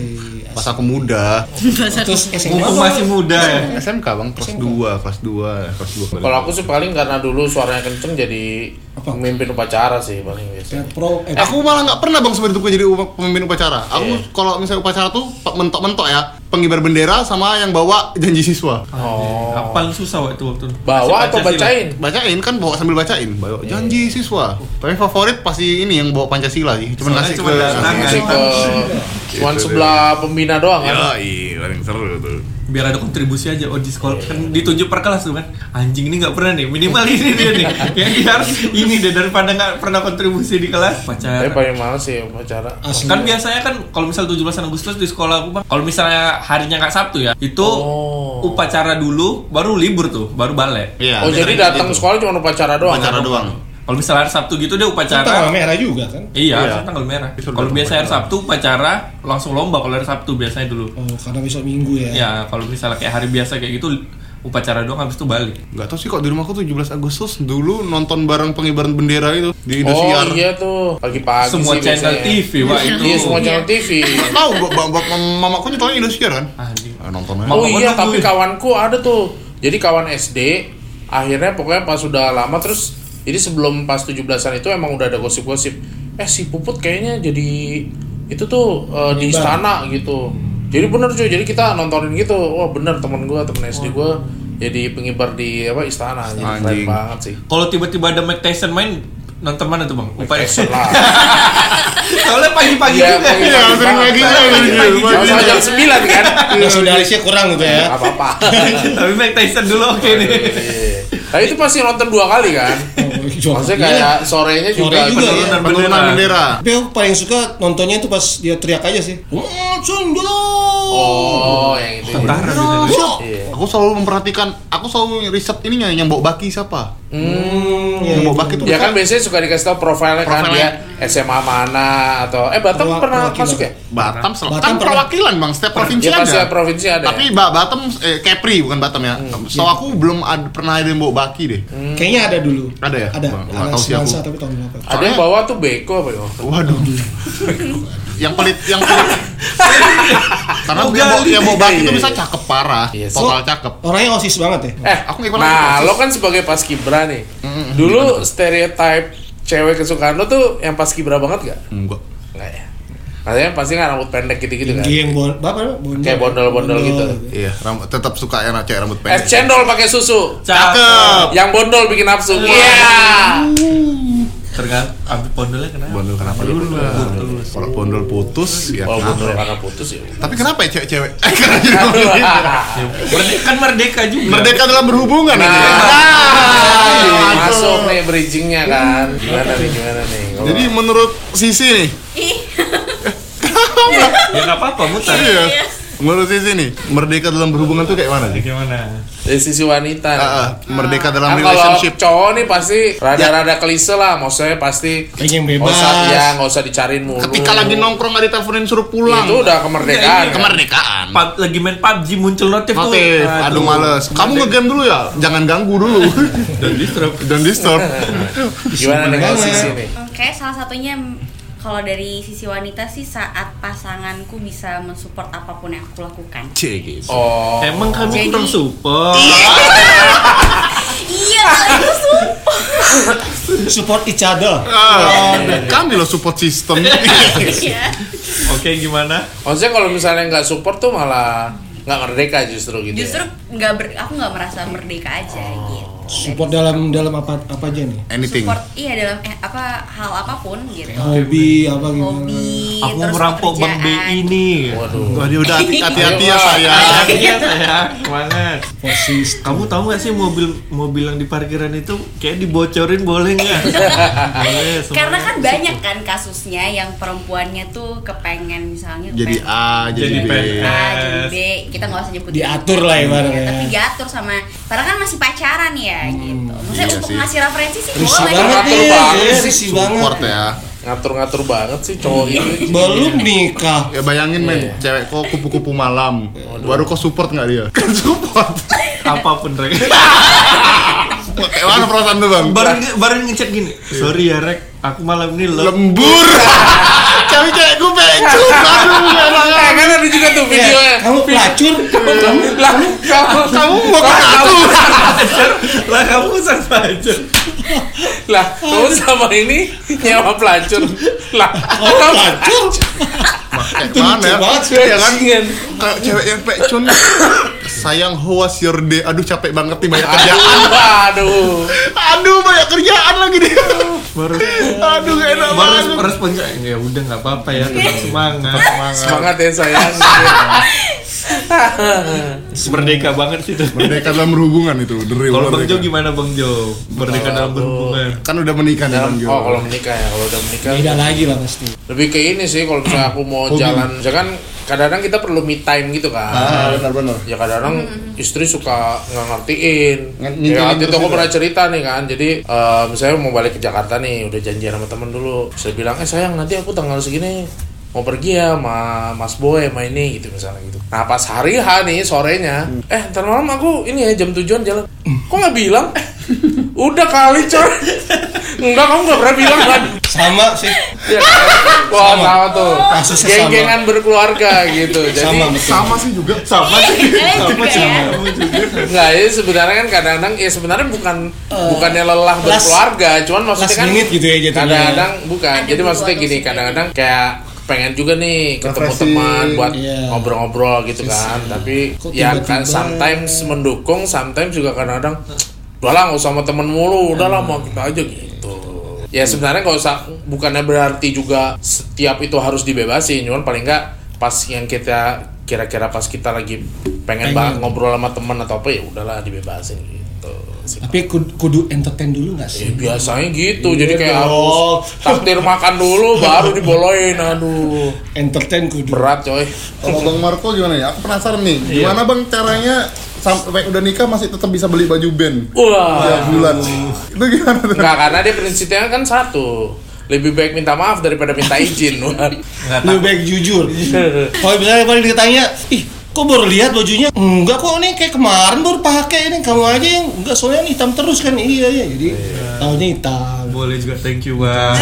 [SPEAKER 1] pas aku muda.
[SPEAKER 4] Terus SMA.
[SPEAKER 3] Mumpung masih muda ya.
[SPEAKER 1] SMK Bang, kelas 2, kelas 2, kelas 2.
[SPEAKER 2] Kalau aku sih paling karena dulu suaranya kenceng jadi
[SPEAKER 4] Apa?
[SPEAKER 2] pemimpin upacara sih paling biasa.
[SPEAKER 4] Pro. Eh,
[SPEAKER 1] aku malah nggak pernah bang sebenarnya gue jadi upa- pemimpin upacara. Aku
[SPEAKER 4] Iya.
[SPEAKER 1] kalau misalnya upacara tuh pe- mentok-mentok ya, pengibar bendera sama yang bawa janji siswa.
[SPEAKER 2] Oh.
[SPEAKER 3] Apal susah waktu waktu.
[SPEAKER 2] Bawa atau
[SPEAKER 3] Pancasila.
[SPEAKER 2] bacain?
[SPEAKER 1] Bacain kan bawa sambil bacain, bawa janji siswa. Tapi favorit pasti ini yang bawa Pancasila sih, cuman
[SPEAKER 3] Soalnya
[SPEAKER 1] ngasih
[SPEAKER 3] cuma
[SPEAKER 1] ke
[SPEAKER 3] datang,
[SPEAKER 1] ngasih
[SPEAKER 2] Masih
[SPEAKER 3] kan?
[SPEAKER 1] ke-
[SPEAKER 2] ke eh,
[SPEAKER 4] Gitu
[SPEAKER 2] cuman sebelah pembina doang kan.
[SPEAKER 1] iya, paling seru tuh.
[SPEAKER 3] biar ada kontribusi aja oh di sekolah kan ditunjuk per kelas tuh kan anjing ini nggak pernah nih minimal ini dia
[SPEAKER 2] [LAUGHS]
[SPEAKER 3] nih yang dia harus ini deh daripada nggak pernah kontribusi di kelas
[SPEAKER 2] Tapi
[SPEAKER 3] pacar
[SPEAKER 2] paling males sih upacara.
[SPEAKER 4] asli.
[SPEAKER 3] kan biasanya kan kalau misal 17 Agustus di sekolah aku Bang, kalau misalnya harinya nggak Sabtu ya itu
[SPEAKER 2] Oh.
[SPEAKER 3] upacara dulu baru libur tuh baru balik
[SPEAKER 1] Iya.
[SPEAKER 2] Oh jadi
[SPEAKER 3] Biasanya
[SPEAKER 2] datang
[SPEAKER 3] gitu.
[SPEAKER 2] sekolah cuma upacara doang. kan?
[SPEAKER 1] Upacara doang.
[SPEAKER 3] kalau misalnya hari Sabtu gitu dia
[SPEAKER 4] Kan tanggal
[SPEAKER 3] upacara
[SPEAKER 4] merah juga kan?
[SPEAKER 1] Iya.
[SPEAKER 3] Iya, harusnya tanggal merah.
[SPEAKER 1] Itu
[SPEAKER 3] Kalau
[SPEAKER 1] udah
[SPEAKER 3] biasanya hari
[SPEAKER 1] tanggal
[SPEAKER 3] Sabtu upacara langsung lomba kalau hari Sabtu biasanya dulu.
[SPEAKER 4] Oh, karena besok minggu ya.
[SPEAKER 3] Ya, kalau misalnya kayak hari biasa kayak gitu upacara doang habis itu balik.
[SPEAKER 1] Gak tau sih kok di rumahku 17 Agustus dulu nonton bareng pengibaran bendera itu di
[SPEAKER 2] Oh
[SPEAKER 1] Indosiar.
[SPEAKER 2] iya tuh pagi-pagi
[SPEAKER 3] Semua
[SPEAKER 2] sih
[SPEAKER 3] channel
[SPEAKER 2] biasanya.
[SPEAKER 3] TV, Pak itu.
[SPEAKER 2] Iya semua channel TV.
[SPEAKER 4] [LAUGHS]
[SPEAKER 1] Nggak Tahu gua bang, bang, mamaku nyetelnya Indosiar kan?
[SPEAKER 3] Anjing.
[SPEAKER 1] Ah, Nonton aja.
[SPEAKER 2] Oh
[SPEAKER 3] Mama
[SPEAKER 2] iya
[SPEAKER 3] menang
[SPEAKER 2] tapi
[SPEAKER 3] gue.
[SPEAKER 2] kawanku ada tuh. Jadi kawan SD akhirnya pokoknya pas sudah lama terus jadi sebelum pas 17-an itu emang udah ada gosip-gosip. Eh si Puput kayaknya jadi itu tuh eh, di
[SPEAKER 4] Ngibar.
[SPEAKER 2] istana gitu. Jadi bener cuy, jadi kita nontonin gitu. Wah bener temen gua, temen SD gua jadi pengibar di apa istana. Jadi keren
[SPEAKER 1] Anjing.
[SPEAKER 2] banget sih.
[SPEAKER 3] Kalau tiba-tiba ada Mike Tyson main nonton mana tuh bang? Upaya
[SPEAKER 2] Action lah.
[SPEAKER 3] [LAUGHS] Soalnya pagi-pagi
[SPEAKER 2] Iya,
[SPEAKER 3] juga.
[SPEAKER 2] pagi-pagi.
[SPEAKER 1] Iya, sering lagi lah.
[SPEAKER 3] Pagi-pagi.
[SPEAKER 2] Kalau sama jam 9 kan.
[SPEAKER 4] Nah, solidarisnya kurang gitu ya.
[SPEAKER 2] Gak apa-apa.
[SPEAKER 3] [LAUGHS] Tapi Mike Tyson dulu oke nih.
[SPEAKER 2] Iya. Tapi itu pasti nonton dua kali kan. Maksudnya kayak sorenya juga,
[SPEAKER 4] Sore Oh, iya. juga
[SPEAKER 2] bener.
[SPEAKER 4] ya.
[SPEAKER 3] Penurunan
[SPEAKER 1] Penurunan bendera.
[SPEAKER 4] Tapi aku paling suka nontonnya itu pas dia teriak aja sih. Oh, sungguh.
[SPEAKER 2] Oh, yang itu.
[SPEAKER 3] Tentara biasanya.
[SPEAKER 2] Iya.
[SPEAKER 1] Aku selalu memperhatikan, aku selalu riset ininya yang bawa baki siapa.
[SPEAKER 2] Iya,
[SPEAKER 4] Hmm, iya,
[SPEAKER 1] yang bawa baki tuh
[SPEAKER 2] Ya kan biasanya suka dikasih tau profilnya kan dia
[SPEAKER 1] Profilnya.
[SPEAKER 2] SMA mana atau eh Batam
[SPEAKER 4] Perwa-
[SPEAKER 2] pernah
[SPEAKER 4] perwakilan.
[SPEAKER 2] masuk ya?
[SPEAKER 1] Batam, sel- kan
[SPEAKER 4] Batam pernah.
[SPEAKER 1] perwakilan bang, setiap provinsi
[SPEAKER 2] Dia pasti
[SPEAKER 1] ada.
[SPEAKER 2] provinsi Hmm. ada.
[SPEAKER 1] Tapi
[SPEAKER 2] ya?
[SPEAKER 1] ba- Batam, eh, Kepri bukan Batam ya. Setahu aku belum ad- pernah ada yang bawa baki deh.
[SPEAKER 2] Hmm.
[SPEAKER 4] Kayaknya ada dulu.
[SPEAKER 1] Ada ya?
[SPEAKER 4] Ada.
[SPEAKER 1] Wah, nggak
[SPEAKER 4] Ada
[SPEAKER 1] tahu sih aku.
[SPEAKER 4] Siansa, tapi tahun berapa?
[SPEAKER 2] ada yang bawa tuh beko apa ya?
[SPEAKER 1] Waduh. [LAUGHS] yang pelit, yang pelit. Karena yang bawa, yang bawa baki itu
[SPEAKER 2] Iya,
[SPEAKER 1] bisa
[SPEAKER 2] iya.
[SPEAKER 1] cakep parah,
[SPEAKER 2] Iya, so-
[SPEAKER 1] total cakep.
[SPEAKER 4] Orangnya osis banget ya.
[SPEAKER 2] Eh,
[SPEAKER 1] Aku ngikut
[SPEAKER 2] nah
[SPEAKER 1] lagi.
[SPEAKER 2] lo kan sebagai paskibra nih. Dulu stereotype cewek kesukaan lo tuh yang paskibra banget gak?
[SPEAKER 1] Enggak.
[SPEAKER 2] Enggak ya. Katanya pasti kan rambut pendek gitu-gitu kan.
[SPEAKER 4] Tinggi yang bon, apa? Bondol.
[SPEAKER 2] Kayak bondol-bondol gitu.
[SPEAKER 1] Iya, rambut, tetap suka yang cewek rambut
[SPEAKER 2] Es
[SPEAKER 1] pendek.
[SPEAKER 2] cendol pakai Eh, susu.
[SPEAKER 1] Ya.
[SPEAKER 3] Cakep.
[SPEAKER 1] Cakep.
[SPEAKER 2] Iya. Yang bondol bikin nafsu. Iya.
[SPEAKER 3] tergantung ambil pondelnya kenapa?
[SPEAKER 1] Bondol kenapa dulu lah? Kalau bondol putus ya
[SPEAKER 2] Kalau bener
[SPEAKER 1] kenapa?
[SPEAKER 2] Oh, karena putus
[SPEAKER 1] [LAUGHS]
[SPEAKER 2] ya.
[SPEAKER 1] Tapi kenapa ya [LAUGHS] cewek-cewek? Eh, kenapa jadi ngomongin ini?
[SPEAKER 2] [LAUGHS]
[SPEAKER 3] Ya, merdeka- kan merdeka juga.
[SPEAKER 1] Merdeka dalam berhubungan aja. ya?
[SPEAKER 2] Ah,
[SPEAKER 1] Nah, masuk.
[SPEAKER 2] Nah. Masuk nih bridgingnya kan. Gimana nih gimana nih? Kalau-
[SPEAKER 1] Jadi menurut sisi nih, [LAUGHS]
[SPEAKER 5] Ih,
[SPEAKER 3] Ya nggak apa-apa mutar.
[SPEAKER 1] iya.
[SPEAKER 5] Iya.
[SPEAKER 1] Menurut sisi nih, merdeka dalam berhubungan tuh kayak mana sih?
[SPEAKER 3] Gimana?
[SPEAKER 2] dari sisi wanita.
[SPEAKER 1] Ah, ah, merdeka dalam
[SPEAKER 2] Kan kalau
[SPEAKER 1] relationship. Ya.
[SPEAKER 2] cowok nih pasti rada-rada klise lah, maksudnya pasti
[SPEAKER 4] Pengen
[SPEAKER 2] nggak usah
[SPEAKER 4] bebas.
[SPEAKER 2] ya nggak usah dicariin mulu.
[SPEAKER 1] Ketika lagi nongkrong nggak diteleponin suruh pulang. Iya, Nah,
[SPEAKER 2] Oh. itu udah kemerdekaan. kan?
[SPEAKER 1] kemerdekaan.
[SPEAKER 3] Pub- lagi main PUBG muncul notif tuh.
[SPEAKER 1] Notif, aduh males. Kamu ngegame dulu ya? Jangan ganggu dulu. [LAUGHS]
[SPEAKER 3] dan distro.
[SPEAKER 1] Dan disturb.
[SPEAKER 2] Gimana nih kalau
[SPEAKER 4] Gimana?
[SPEAKER 2] sisi nih?
[SPEAKER 5] kayak salah satunya mm, kalau dari sisi wanita sih saat pasanganku bisa mensupport apapun yang aku lakukan.
[SPEAKER 1] Cie gitu.
[SPEAKER 2] Oh,
[SPEAKER 3] Emang kami
[SPEAKER 5] Jadi-
[SPEAKER 3] kurang support.
[SPEAKER 5] Iya, [LAUGHS] kali itu sumpah.
[SPEAKER 4] Support each other.
[SPEAKER 1] Ah, kami loh support system.
[SPEAKER 5] Iya.
[SPEAKER 3] Oke, gimana?
[SPEAKER 2] maksudnya kalau misalnya nggak support tuh malah nggak merdeka justru gitu.
[SPEAKER 5] Justru
[SPEAKER 2] ya?
[SPEAKER 5] nggak ber- aku nggak merasa merdeka aja gitu.
[SPEAKER 4] Oh. Support dalam dalam apa apa aja nih?
[SPEAKER 1] Anything.
[SPEAKER 5] Support iya dalam eh, apa hal apapun gitu.
[SPEAKER 4] Hobi apa gitu?
[SPEAKER 5] Hobi,
[SPEAKER 3] Aku
[SPEAKER 5] Iya, terus
[SPEAKER 3] merampok Bang B
[SPEAKER 5] pekerjaan.
[SPEAKER 3] ini.
[SPEAKER 2] Waduh.
[SPEAKER 1] Wah, dia udah hati- hati-hati ya
[SPEAKER 2] Ayo,
[SPEAKER 1] sayang.
[SPEAKER 3] Iya, sayang. Semangat.
[SPEAKER 4] Posisi.
[SPEAKER 3] Kamu tahu gak sih mobil mobil yang di parkiran itu kayak dibocorin boleh
[SPEAKER 5] [LAUGHS]
[SPEAKER 3] nggak? boleh. semangat.
[SPEAKER 5] Karena kan banyak kan kasusnya yang perempuannya tuh kepengen misalnya
[SPEAKER 1] Jadi
[SPEAKER 5] pengen-
[SPEAKER 1] A, jadi
[SPEAKER 3] Jadi
[SPEAKER 1] B.
[SPEAKER 3] PNS.
[SPEAKER 5] A jadi B kita nggak usah nyebutin
[SPEAKER 4] Diatur lah ibaratnya.
[SPEAKER 5] Iya, tapi diatur sama karena kan masih pacaran ya gitu maksudnya
[SPEAKER 1] iya
[SPEAKER 5] untuk
[SPEAKER 1] sih.
[SPEAKER 5] ngasih referensi sih
[SPEAKER 4] Risih
[SPEAKER 5] boleh
[SPEAKER 2] Ngatur
[SPEAKER 4] banget nih, Iya,
[SPEAKER 2] banget sih,
[SPEAKER 4] risih
[SPEAKER 1] Support
[SPEAKER 4] banget.
[SPEAKER 1] ya.
[SPEAKER 2] Ngatur-ngatur banget sih cowok gitu. ini.
[SPEAKER 4] Belum nikah.
[SPEAKER 1] Ya bayangin men, cewek kok kupu-kupu malam. Baru kok support nggak dia? [LAUGHS] Kan support.
[SPEAKER 3] apapun rek.
[SPEAKER 1] Kayak mana perasaan tuh bang?
[SPEAKER 3] bareng bareng ngechat gini. Sorry ya rek, aku malam ini lem.
[SPEAKER 1] Lembur. Cewek-cewek gue pencut. Aduh,
[SPEAKER 2] Eh,
[SPEAKER 1] enak.
[SPEAKER 2] kan ada juga tuh videonya.
[SPEAKER 4] Kamu pelacur.
[SPEAKER 2] Kamu lah, kamu
[SPEAKER 1] Iya. Kamu mau ke aku?
[SPEAKER 3] lah kamu sama aja.
[SPEAKER 2] lah, kamu sama ini nyewa pelacur. Lah,
[SPEAKER 4] Kamu pelacur.
[SPEAKER 1] Kayak
[SPEAKER 4] Itu lucu
[SPEAKER 1] mana
[SPEAKER 4] banget sih.
[SPEAKER 1] ya? Ya kan?
[SPEAKER 2] Kasihan.
[SPEAKER 1] Kayak cewek yang pecun. Sayang, how was your day? Aduh, capek banget nih banyak kerjaan.
[SPEAKER 2] Aduh, aduh.
[SPEAKER 1] Aduh, banyak kerjaan lagi dia.
[SPEAKER 3] Baru
[SPEAKER 1] Aduh, gak enak
[SPEAKER 3] baru
[SPEAKER 1] banget.
[SPEAKER 3] respon ya udah nggak apa-apa ya tetap semangat.
[SPEAKER 2] Semangat ya sayang.
[SPEAKER 3] Merdeka banget sih tuh.
[SPEAKER 1] Merdeka dalam berhubungan itu, the real
[SPEAKER 3] Kalau Bang
[SPEAKER 1] merdeka.
[SPEAKER 3] Jo gimana Bang Jo? Merdeka dalam berhubungan.
[SPEAKER 1] Kan udah menikah nih Bang
[SPEAKER 2] Dalam,
[SPEAKER 1] Jo.
[SPEAKER 2] oh kalau menikah ya, kalau udah menikah
[SPEAKER 4] Beda lagi lah pasti.
[SPEAKER 2] lebih ke ini sih kalau misalnya aku mau
[SPEAKER 1] Hobi.
[SPEAKER 2] jalan, misalkan kadang-kadang kita perlu me time gitu kan.
[SPEAKER 1] Ah, benar-benar.
[SPEAKER 2] ya kadang istri suka nggak ngertiin
[SPEAKER 1] Nge-
[SPEAKER 2] ya
[SPEAKER 1] terus
[SPEAKER 2] waktu itu aku
[SPEAKER 1] gitu.
[SPEAKER 2] pernah cerita nih kan jadi eh, misalnya mau balik ke Jakarta nih udah janjian sama temen dulu saya bilang eh sayang nanti aku tanggal segini mau pergi ya sama Mas Boy sama ini gitu misalnya gitu nah pas hari H nih sorenya
[SPEAKER 1] Hmm.
[SPEAKER 2] eh ntar malam aku ini ya jam tujuan jalan kok nggak
[SPEAKER 1] [LAUGHS]
[SPEAKER 2] bilang udah kali coy enggak kamu nggak pernah bilang kan
[SPEAKER 4] Sama sih.
[SPEAKER 2] ya, kan? wah sama tuh
[SPEAKER 4] Kasusnya sama.
[SPEAKER 2] geng-gengan
[SPEAKER 4] [LAUGHS]
[SPEAKER 2] berkeluarga gitu jadi
[SPEAKER 4] Sama betul.
[SPEAKER 1] Sama sih juga. Sama sih.
[SPEAKER 5] kalian juga
[SPEAKER 3] Iya.
[SPEAKER 5] ya
[SPEAKER 2] Enggak, ini sebenarnya kan kadang-kadang ya sebenarnya bukan bukannya lelah
[SPEAKER 4] Eh, last-
[SPEAKER 2] berkeluarga, cuman maksudnya
[SPEAKER 4] last
[SPEAKER 2] kan
[SPEAKER 4] minute gitu ya jatuhnya.
[SPEAKER 2] Kadang-kadang bukan.
[SPEAKER 5] Ada
[SPEAKER 2] Jadi
[SPEAKER 5] dua
[SPEAKER 2] maksudnya
[SPEAKER 5] atau
[SPEAKER 2] gini,
[SPEAKER 5] tiga.
[SPEAKER 2] kadang-kadang kayak pengen juga nih ketemu
[SPEAKER 1] Refreshing.
[SPEAKER 2] teman buat
[SPEAKER 4] Iya.
[SPEAKER 2] ngobrol-ngobrol gitu kan. Tapi
[SPEAKER 4] Kok
[SPEAKER 2] ya
[SPEAKER 4] tiba-tiba?
[SPEAKER 2] kan sometimes mendukung, sometimes juga kadang-kadang udah lah nggak usah sama temen mulu, udah lah mau kita aja gitu. Ya sebenarnya nggak usah bukannya berarti juga setiap itu harus dibebasin, cuman paling nggak pas yang kita kira-kira pas kita lagi pengen, banget ngobrol sama temen atau apa ya udahlah dibebasin gitu. sih.
[SPEAKER 4] Tapi kudu, kudu entertain dulu gak
[SPEAKER 2] Ya,
[SPEAKER 4] sih?
[SPEAKER 5] Iya.
[SPEAKER 2] biasanya gitu, jadi
[SPEAKER 4] Iya
[SPEAKER 2] kayak
[SPEAKER 4] dong.
[SPEAKER 2] harus takdir makan dulu baru diboloin, aduh
[SPEAKER 4] Entertain kudu.
[SPEAKER 2] berat coy.
[SPEAKER 1] Kalau Bang Marco gimana ya? Aku penasaran nih. Gimana Bang caranya sampai udah nikah masih tetap bisa beli baju band?
[SPEAKER 2] Wah,
[SPEAKER 1] Tiap bulan. Itu gimana tuh?
[SPEAKER 2] nggak karena dia prinsipnya kan satu, lebih baik minta maaf daripada minta izin. Wah.
[SPEAKER 3] Nggak
[SPEAKER 4] Lu baik jujur. Kalau misalnya paling ditanya, ih kok baru lihat bajunya? Enggak kok ini kayak kemarin baru pakai ini kamu aja yang enggak soalnya ini hitam terus kan iya iya jadi tahunya hitam.
[SPEAKER 3] Boleh juga thank you bang.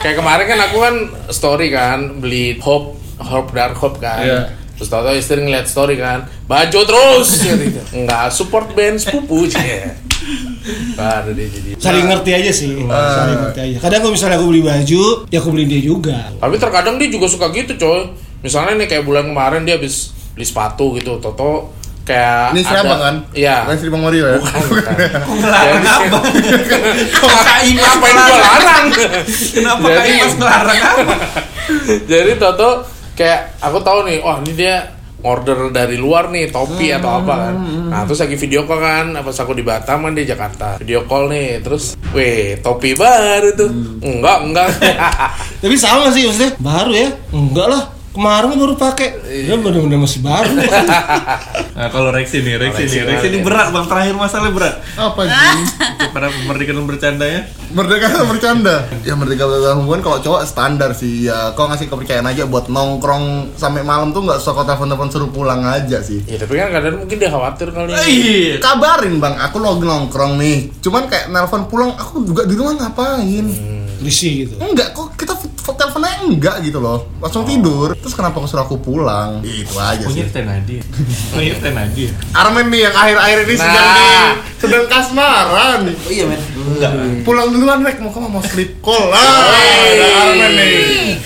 [SPEAKER 2] Kayak kemarin kan aku kan story kan beli hop hop dark hop kan.
[SPEAKER 3] Iya.
[SPEAKER 2] Terus tau istri ngeliat story kan, baju terus. gitu. Enggak support band sepupu aja. Baru dia jadi.
[SPEAKER 5] Nah.
[SPEAKER 4] Saling ngerti aja sih,
[SPEAKER 5] Ah.
[SPEAKER 4] saling ngerti aja. Kadang kalau misalnya aku beli baju, ya aku beli dia juga.
[SPEAKER 2] Tapi terkadang dia juga suka gitu coy. Misalnya nih kayak bulan kemarin dia habis beli sepatu gitu, Toto kayak
[SPEAKER 1] Ini
[SPEAKER 2] ada-
[SPEAKER 1] serabang kan?
[SPEAKER 2] Iya.
[SPEAKER 1] Bukan Seribang Mario ya?
[SPEAKER 2] Bukan, bukan.
[SPEAKER 3] Ngelarang
[SPEAKER 2] Jadi- [LAUGHS]
[SPEAKER 3] apa? Kok Kak Imas
[SPEAKER 2] Ngapain gua
[SPEAKER 3] ngelarang?
[SPEAKER 2] larang?
[SPEAKER 3] Kenapa Kak
[SPEAKER 2] Jadi-
[SPEAKER 3] Imas ngelarang apa?
[SPEAKER 2] Jadi Toto kayak aku tahu nih, wah ini dia order dari luar nih topi
[SPEAKER 3] Hmm,
[SPEAKER 2] atau apa kan. Nah terus lagi video call kan, pas aku di Batam kan di Jakarta. Video call nih, terus, weh topi baru tuh.
[SPEAKER 3] Hmm.
[SPEAKER 2] Enggak enggak. [LAUGHS]
[SPEAKER 4] Tapi sama sih maksudnya baru ya? Enggak lah. Kemarin baru pakai.
[SPEAKER 5] Iya.
[SPEAKER 4] Ya bener-bener masih baru.
[SPEAKER 5] [LAUGHS]
[SPEAKER 3] Nah, kalau Rexi nih, Rexi
[SPEAKER 2] Rexi
[SPEAKER 3] nih, Rexi ini
[SPEAKER 2] banget ya.
[SPEAKER 3] berat bang, terakhir masalahnya berat.
[SPEAKER 1] [LAUGHS] Apa sih?
[SPEAKER 3] Pada pemerdekaannya bercandanya.
[SPEAKER 1] Merdeka atau bercanda? Ya merdeka dalam hubungan kalau cowok standar sih ya Kau ngasih kepercayaan aja buat nongkrong sampai malam tuh nggak usah kau telepon-telepon suruh pulang aja sih
[SPEAKER 2] ya tapi kan kadang mungkin dia khawatir kali.
[SPEAKER 3] Iya.
[SPEAKER 1] Kabarin bang, aku lagi nongkrong nih Cuman kayak nelpon pulang, aku juga di rumah ngapain?
[SPEAKER 4] Risih gitu.
[SPEAKER 1] Enggak, kok kita f- f- teleponnya enggak gitu loh Langsung tidur, terus kenapa kau suruh aku pulang? Itu aja
[SPEAKER 3] Punya
[SPEAKER 1] sih
[SPEAKER 3] tenadi. Punya tenadi.
[SPEAKER 1] Armen nih yang akhir-akhir ini sedang
[SPEAKER 2] Nah.
[SPEAKER 1] di, sedang kasmaran
[SPEAKER 3] Iya men. Enggak.
[SPEAKER 1] Pulang duluan Kan Rek, mau kamu mau sleep call Ah, ada Armen nih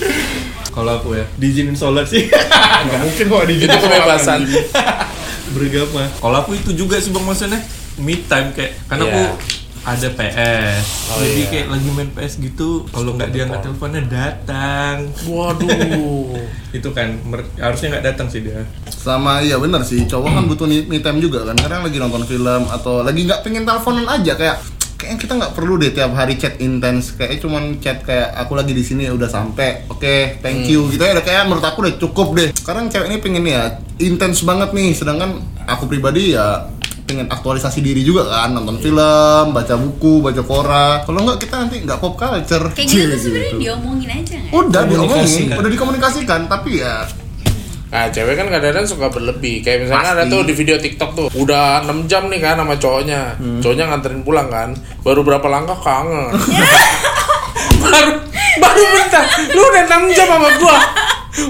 [SPEAKER 3] Kalau aku ya, diizinin sholat sih.
[SPEAKER 1] Nggak mungkin kok di
[SPEAKER 2] Itu Gitu kebebasan.
[SPEAKER 3] Iya. Bergama. Kalau aku itu juga sih bang maksudnya me time kayak karena
[SPEAKER 2] Iya.
[SPEAKER 3] aku ada PS.
[SPEAKER 2] Oh,
[SPEAKER 3] Jadi
[SPEAKER 2] iya.
[SPEAKER 3] kayak lagi main PS gitu, kalau nggak diangkat teleponnya datang.
[SPEAKER 2] Waduh.
[SPEAKER 3] Itu kan mer- harusnya nggak datang sih dia.
[SPEAKER 1] sama iya bener sih cowok kan butuh me me time juga kan kadang lagi nonton film atau lagi nggak pengen teleponan aja kayak kayaknya kita nggak perlu deh tiap hari chat intens kayak cuman chat kayak aku lagi di sini udah sampai oke thank you
[SPEAKER 5] Hmm.
[SPEAKER 1] gitu ya udah kayak menurut aku udah cukup deh sekarang cewek ini pengen ya intens banget nih sedangkan aku pribadi ya pengen aktualisasi diri juga kan nonton
[SPEAKER 5] Iya.
[SPEAKER 1] film baca buku baca koran kalau nggak kita nanti nggak pop culture
[SPEAKER 5] Kayak gitu tuh
[SPEAKER 1] Gitu.
[SPEAKER 5] sebenarnya diomongin aja nggak?
[SPEAKER 1] udah diomongin
[SPEAKER 4] Komunikasikan.
[SPEAKER 1] udah dikomunikasikan tapi ya
[SPEAKER 2] Nah cewek kan kadang-kadang suka berlebih Kayak misalnya ada
[SPEAKER 1] Pasti.
[SPEAKER 2] tuh di video tiktok tuh Udah 6 jam nih kan sama cowoknya
[SPEAKER 3] Hmm.
[SPEAKER 2] Cowoknya nganterin pulang kan Baru berapa langkah
[SPEAKER 3] [LAUGHS]
[SPEAKER 2] kangen [LAUGHS] Baru baru bentar Lu udah 6 jam sama gua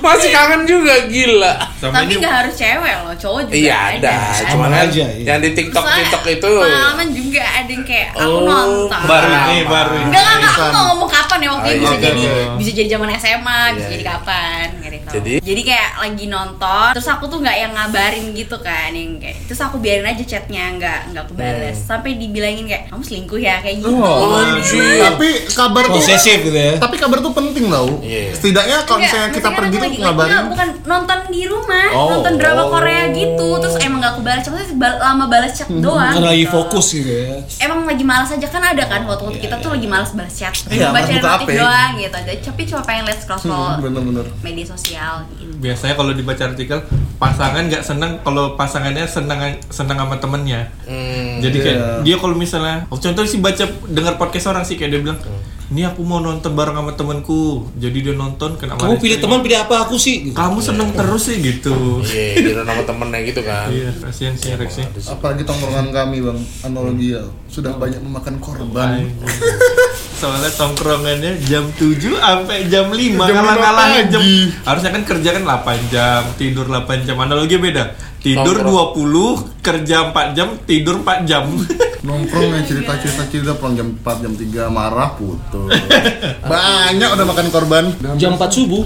[SPEAKER 2] Masih kangen juga gila
[SPEAKER 3] Sama
[SPEAKER 5] Tapi
[SPEAKER 3] ini
[SPEAKER 5] nggak harus cewek loh, cowok juga
[SPEAKER 2] Iya ada Cuman
[SPEAKER 4] Sama
[SPEAKER 2] kan
[SPEAKER 4] aja, iya.
[SPEAKER 2] yang di tiktok
[SPEAKER 5] Soalnya
[SPEAKER 2] tiktok itu
[SPEAKER 5] Pengalaman juga ada yang kayak aku
[SPEAKER 2] Oh,
[SPEAKER 5] nonton.
[SPEAKER 3] baru ini
[SPEAKER 2] Sama.
[SPEAKER 3] baru ini.
[SPEAKER 5] Enggak, enggak, enggak, aku
[SPEAKER 1] Arisan.
[SPEAKER 5] mau ngomong kapan ya waktu
[SPEAKER 2] Oh,
[SPEAKER 5] itu
[SPEAKER 2] iya,
[SPEAKER 5] bisa
[SPEAKER 1] oke,
[SPEAKER 5] jadi
[SPEAKER 1] oke.
[SPEAKER 5] bisa jadi zaman SMA, bisa
[SPEAKER 2] Iya,
[SPEAKER 5] jadi
[SPEAKER 2] iya.
[SPEAKER 5] kapan, nggak ada yang tahu.
[SPEAKER 2] Jadi?
[SPEAKER 5] jadi kayak lagi nonton, terus aku tuh nggak yang ngabarin gitu kan, yang kayak terus aku biarin aja chatnya, nggak nggak aku balas, sampai dibilangin kayak kamu selingkuh ya kayak gitu.
[SPEAKER 1] Hmm. Oh,
[SPEAKER 2] anjir.
[SPEAKER 3] Iya.
[SPEAKER 1] tapi kabar tuh
[SPEAKER 4] Posesif gitu ya.
[SPEAKER 1] tapi kabar tuh penting tau
[SPEAKER 2] Iya.
[SPEAKER 1] setidaknya kalau
[SPEAKER 5] Enggak,
[SPEAKER 1] misalnya kita
[SPEAKER 5] maksudnya
[SPEAKER 1] pergi
[SPEAKER 5] kan aku
[SPEAKER 1] tuh
[SPEAKER 5] lagi-
[SPEAKER 1] ngabarin
[SPEAKER 5] enggak, bukan nonton di rumah,
[SPEAKER 2] Oh.
[SPEAKER 5] nonton drama Korea gitu, terus
[SPEAKER 1] oh.
[SPEAKER 5] emang gak aku balas, cuma lama balas chat doang.
[SPEAKER 4] Bukan Hmm. lagi
[SPEAKER 5] gitu.
[SPEAKER 4] fokus gitu ya.
[SPEAKER 5] Emang lagi malas aja kan ada kan waktu-waktu kita tuh lagi malas balas chat,
[SPEAKER 1] Iya,
[SPEAKER 5] Cuma
[SPEAKER 1] malas
[SPEAKER 5] baca
[SPEAKER 1] buka
[SPEAKER 5] notif
[SPEAKER 1] HP.
[SPEAKER 5] doang gitu. Jadi, Tapi cuma pengen lihat scroll scroll
[SPEAKER 1] Hmm, bener-bener
[SPEAKER 5] media sosial gitu.
[SPEAKER 3] Biasanya kalau dibaca artikel pasangan nggak senang kalau pasangannya senang senang sama temennya.
[SPEAKER 2] Hmm.
[SPEAKER 3] Jadi kayak
[SPEAKER 1] Iya.
[SPEAKER 3] dia kalau misalnya oh, contoh sih baca dengar podcast orang sih kayak dia bilang, "Ini aku mau nonton bareng sama temanku." Jadi dia nonton kena marah
[SPEAKER 4] Kamu pilih
[SPEAKER 3] istri.
[SPEAKER 4] teman pilih apa aku sih? Gitu.
[SPEAKER 3] Kamu seneng terus sih gitu.
[SPEAKER 2] Iya kira nama temennya gitu kan
[SPEAKER 3] Iya, kasihan sih Rex ya.
[SPEAKER 1] apalagi tongkrongan kami bang analogi ya, sudah banyak memakan korban
[SPEAKER 3] Soalnya tongkrongannya jam 7 sampai jam
[SPEAKER 1] Jam lima
[SPEAKER 3] 5 ngalah-ngalahin jam.
[SPEAKER 1] pagi.
[SPEAKER 3] Harusnya kan kerja kan 8 jam, tidur 8 jam. Analogi beda. Tidur
[SPEAKER 2] Nongkrong.
[SPEAKER 3] 20, kerja 4 jam, tidur 4 jam. [LAUGHS]
[SPEAKER 1] nongkrong yang cerita cerita cerita pulang jam 4 jam 3 marah
[SPEAKER 4] [LAUGHS]
[SPEAKER 1] putus banyak udah makan korban Ya,
[SPEAKER 4] Jam 4 subuh.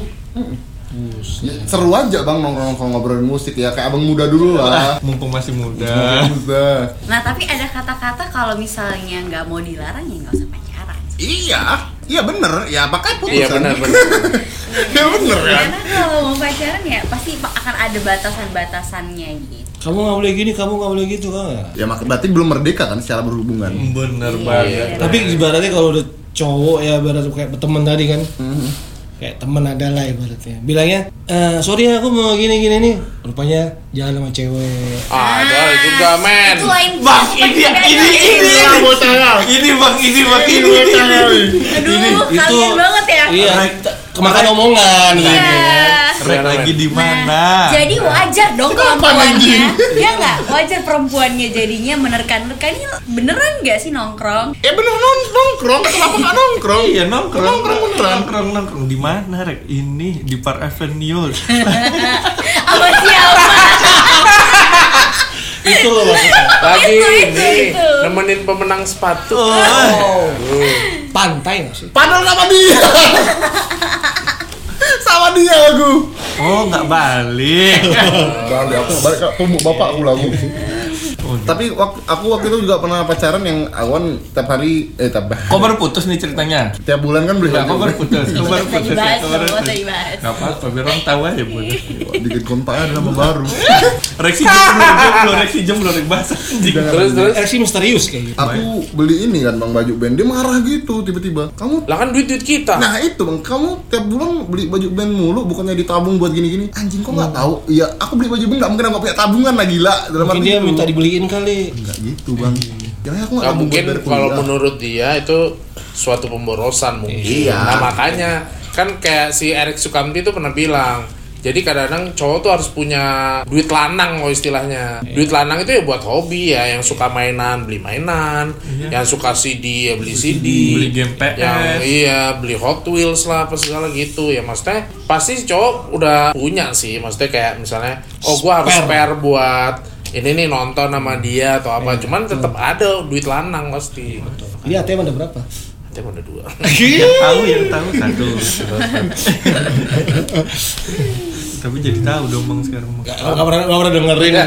[SPEAKER 1] seru aja bang nongkrong nongkrong ngobrolin musik ya kayak abang muda dulu
[SPEAKER 4] [LAUGHS]
[SPEAKER 1] lah
[SPEAKER 3] Mumpung masih muda.
[SPEAKER 1] muda
[SPEAKER 5] Nah tapi ada kata-kata kalau misalnya nggak mau dilarang ya nggak usah pacaran.
[SPEAKER 1] iya iya bener ya pakai putus
[SPEAKER 2] Iya
[SPEAKER 1] kan?
[SPEAKER 2] benar benar
[SPEAKER 1] [LAUGHS] ya bener kan
[SPEAKER 5] Karena kalau mau pacaran ya pasti akan ada batasan-batasannya gitu.
[SPEAKER 4] Kamu nggak boleh gini, kamu nggak boleh gitu kan? nggak?
[SPEAKER 1] ya mak- berarti belum merdeka kan secara berhubungan
[SPEAKER 3] Bener
[SPEAKER 5] Iya.
[SPEAKER 3] banget.
[SPEAKER 4] Tapi ibaratnya kalau udah cowok ya ibarat kayak teman tadi kan. Kayak teman adalah ibaratnya. Bilangnya, "Eh, sorry ya, aku mau gini gini nih. Rupanya jalan sama cewek.
[SPEAKER 2] Ada Ah, juga men
[SPEAKER 5] Ah, Itu lain
[SPEAKER 3] Bang,
[SPEAKER 5] bukan
[SPEAKER 3] ini-
[SPEAKER 5] pacaran.
[SPEAKER 3] ini- ini-
[SPEAKER 1] Ah, bocah
[SPEAKER 3] Ini bang, ini bang,
[SPEAKER 1] Ini
[SPEAKER 3] ini.
[SPEAKER 1] bocah
[SPEAKER 5] Aduh, kalian banget ya.
[SPEAKER 4] Iya,
[SPEAKER 3] Right.
[SPEAKER 4] t- kemakan omongan
[SPEAKER 5] Iya.
[SPEAKER 4] gitu kan.
[SPEAKER 2] ya.
[SPEAKER 3] Rek lagi di
[SPEAKER 5] Nah,
[SPEAKER 3] mana?
[SPEAKER 5] jadi wajar dong
[SPEAKER 1] Kenapa,
[SPEAKER 5] kemampuannya
[SPEAKER 1] anjing?
[SPEAKER 5] Ya nggak? Wajar perempuannya jadinya menerkan-nerkan Ini beneran nggak sih nongkrong?
[SPEAKER 1] Ya bener nong- nongkrong, kenapa nggak nongkrong?
[SPEAKER 3] Iya nongkrong
[SPEAKER 1] Nongkrong beneran.
[SPEAKER 3] nongkrong nongkrong di mana rek ini di Park
[SPEAKER 1] [LAUGHS]
[SPEAKER 3] Avenue
[SPEAKER 5] Sama
[SPEAKER 2] [LAUGHS]
[SPEAKER 5] siapa?
[SPEAKER 4] Itu loh maksudnya.
[SPEAKER 2] Lagi
[SPEAKER 5] Itu, itu,
[SPEAKER 2] ini
[SPEAKER 5] itu.
[SPEAKER 2] Nemenin pemenang sepatu
[SPEAKER 3] Oh,
[SPEAKER 4] Pantai nggak sih?
[SPEAKER 1] [LAUGHS] Padahal sama dia. sama dia aku.
[SPEAKER 3] Oh, nggak balik.
[SPEAKER 1] Balik aku balik aku mau bapak aku lagu. Tapi wak- aku waktu itu juga pernah pacaran yang awan tiap hari eh tiap [LAUGHS]
[SPEAKER 3] Kok baru putus nih ceritanya?
[SPEAKER 1] tiap bulan kan beli
[SPEAKER 3] Nggak, kok
[SPEAKER 1] baju.
[SPEAKER 3] baru putus? Kok baru
[SPEAKER 5] Nggak
[SPEAKER 3] putus?
[SPEAKER 5] dibahas,
[SPEAKER 3] Kok baru
[SPEAKER 5] nggak usah
[SPEAKER 3] putus?
[SPEAKER 5] dibahas.
[SPEAKER 3] Nggak apa-apa, biar orang tahu aja putus.
[SPEAKER 1] Bikin kontaknya ada nama baru.
[SPEAKER 3] Reksi jomblo, jomblo, reksi jomblo, reksi basah. anjing.
[SPEAKER 2] Terus terus.
[SPEAKER 4] Reaksi misterius gitu. kayaknya.
[SPEAKER 1] Aku beli ini kan bang baju band dia marah gitu tiba-tiba. Kamu
[SPEAKER 2] Lah kan duit duit kita.
[SPEAKER 1] Nah itu bang, kamu tiap bulan beli baju band mulu, bukannya ditabung buat gini-gini Anjing kok nggak tahu? Iya, aku beli baju band nggak mungkin aku punya tabungan lah gila Dalam
[SPEAKER 4] Mungkin
[SPEAKER 1] arti
[SPEAKER 4] dia
[SPEAKER 1] itu.
[SPEAKER 4] minta dibeliin kali.
[SPEAKER 1] Nggak gitu bang Jangan aku nggak
[SPEAKER 2] Nah,
[SPEAKER 1] tabung buat
[SPEAKER 2] mungkin
[SPEAKER 1] bayar
[SPEAKER 2] kalau
[SPEAKER 1] kuliah.
[SPEAKER 2] menurut dia itu suatu pemborosan mungkin.
[SPEAKER 1] Iya.
[SPEAKER 2] Nah, makanya kan kayak si Erik Sukamti itu pernah bilang. Jadi kadang-kadang cowok tuh harus punya duit lanang loh istilahnya. Duit lanang itu ya buat hobi ya, yang suka mainan beli mainan, yang suka CD ya beli CD,
[SPEAKER 3] Beli game PS.
[SPEAKER 2] yang iya beli Hot Wheels lah apa segala gitu ya maksudnya pasti si cowok udah punya sih maksudnya kayak misalnya oh gua harus
[SPEAKER 4] Spare.
[SPEAKER 2] spare buat ini nih nonton sama dia atau apa cuman tetap ada duit lanang pasti
[SPEAKER 4] Ini ATM ada berapa?
[SPEAKER 2] nanti ada dua
[SPEAKER 3] Yang tahu, yang tahu satu. Tapi jadi tahu dong bang sekarang. Bang.
[SPEAKER 4] Gak, gak pernah, gak pernah dengerin.
[SPEAKER 2] Iya.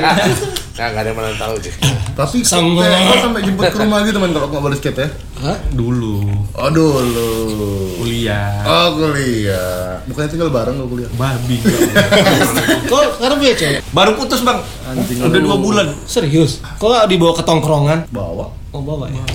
[SPEAKER 2] nggak nggak ada yang mana tahu sih
[SPEAKER 1] Tapi
[SPEAKER 4] Sama.
[SPEAKER 1] sampai sampai jemput ke rumah gitu teman kalau aku nggak boleh skate ya
[SPEAKER 4] Hah?
[SPEAKER 3] Dulu
[SPEAKER 1] Aduh lu
[SPEAKER 3] kuliah
[SPEAKER 1] Oh kuliah Bukannya tinggal bareng gak kuliah
[SPEAKER 3] babi. gua.
[SPEAKER 4] Kok sekarang punya cewek?
[SPEAKER 3] Baru putus bang.
[SPEAKER 1] Anjing,
[SPEAKER 3] Udah
[SPEAKER 1] lu.
[SPEAKER 3] dua bulan.
[SPEAKER 4] Serius? Kok gak dibawa ke tongkrongan?
[SPEAKER 1] Bawa
[SPEAKER 4] Oh bawa ya?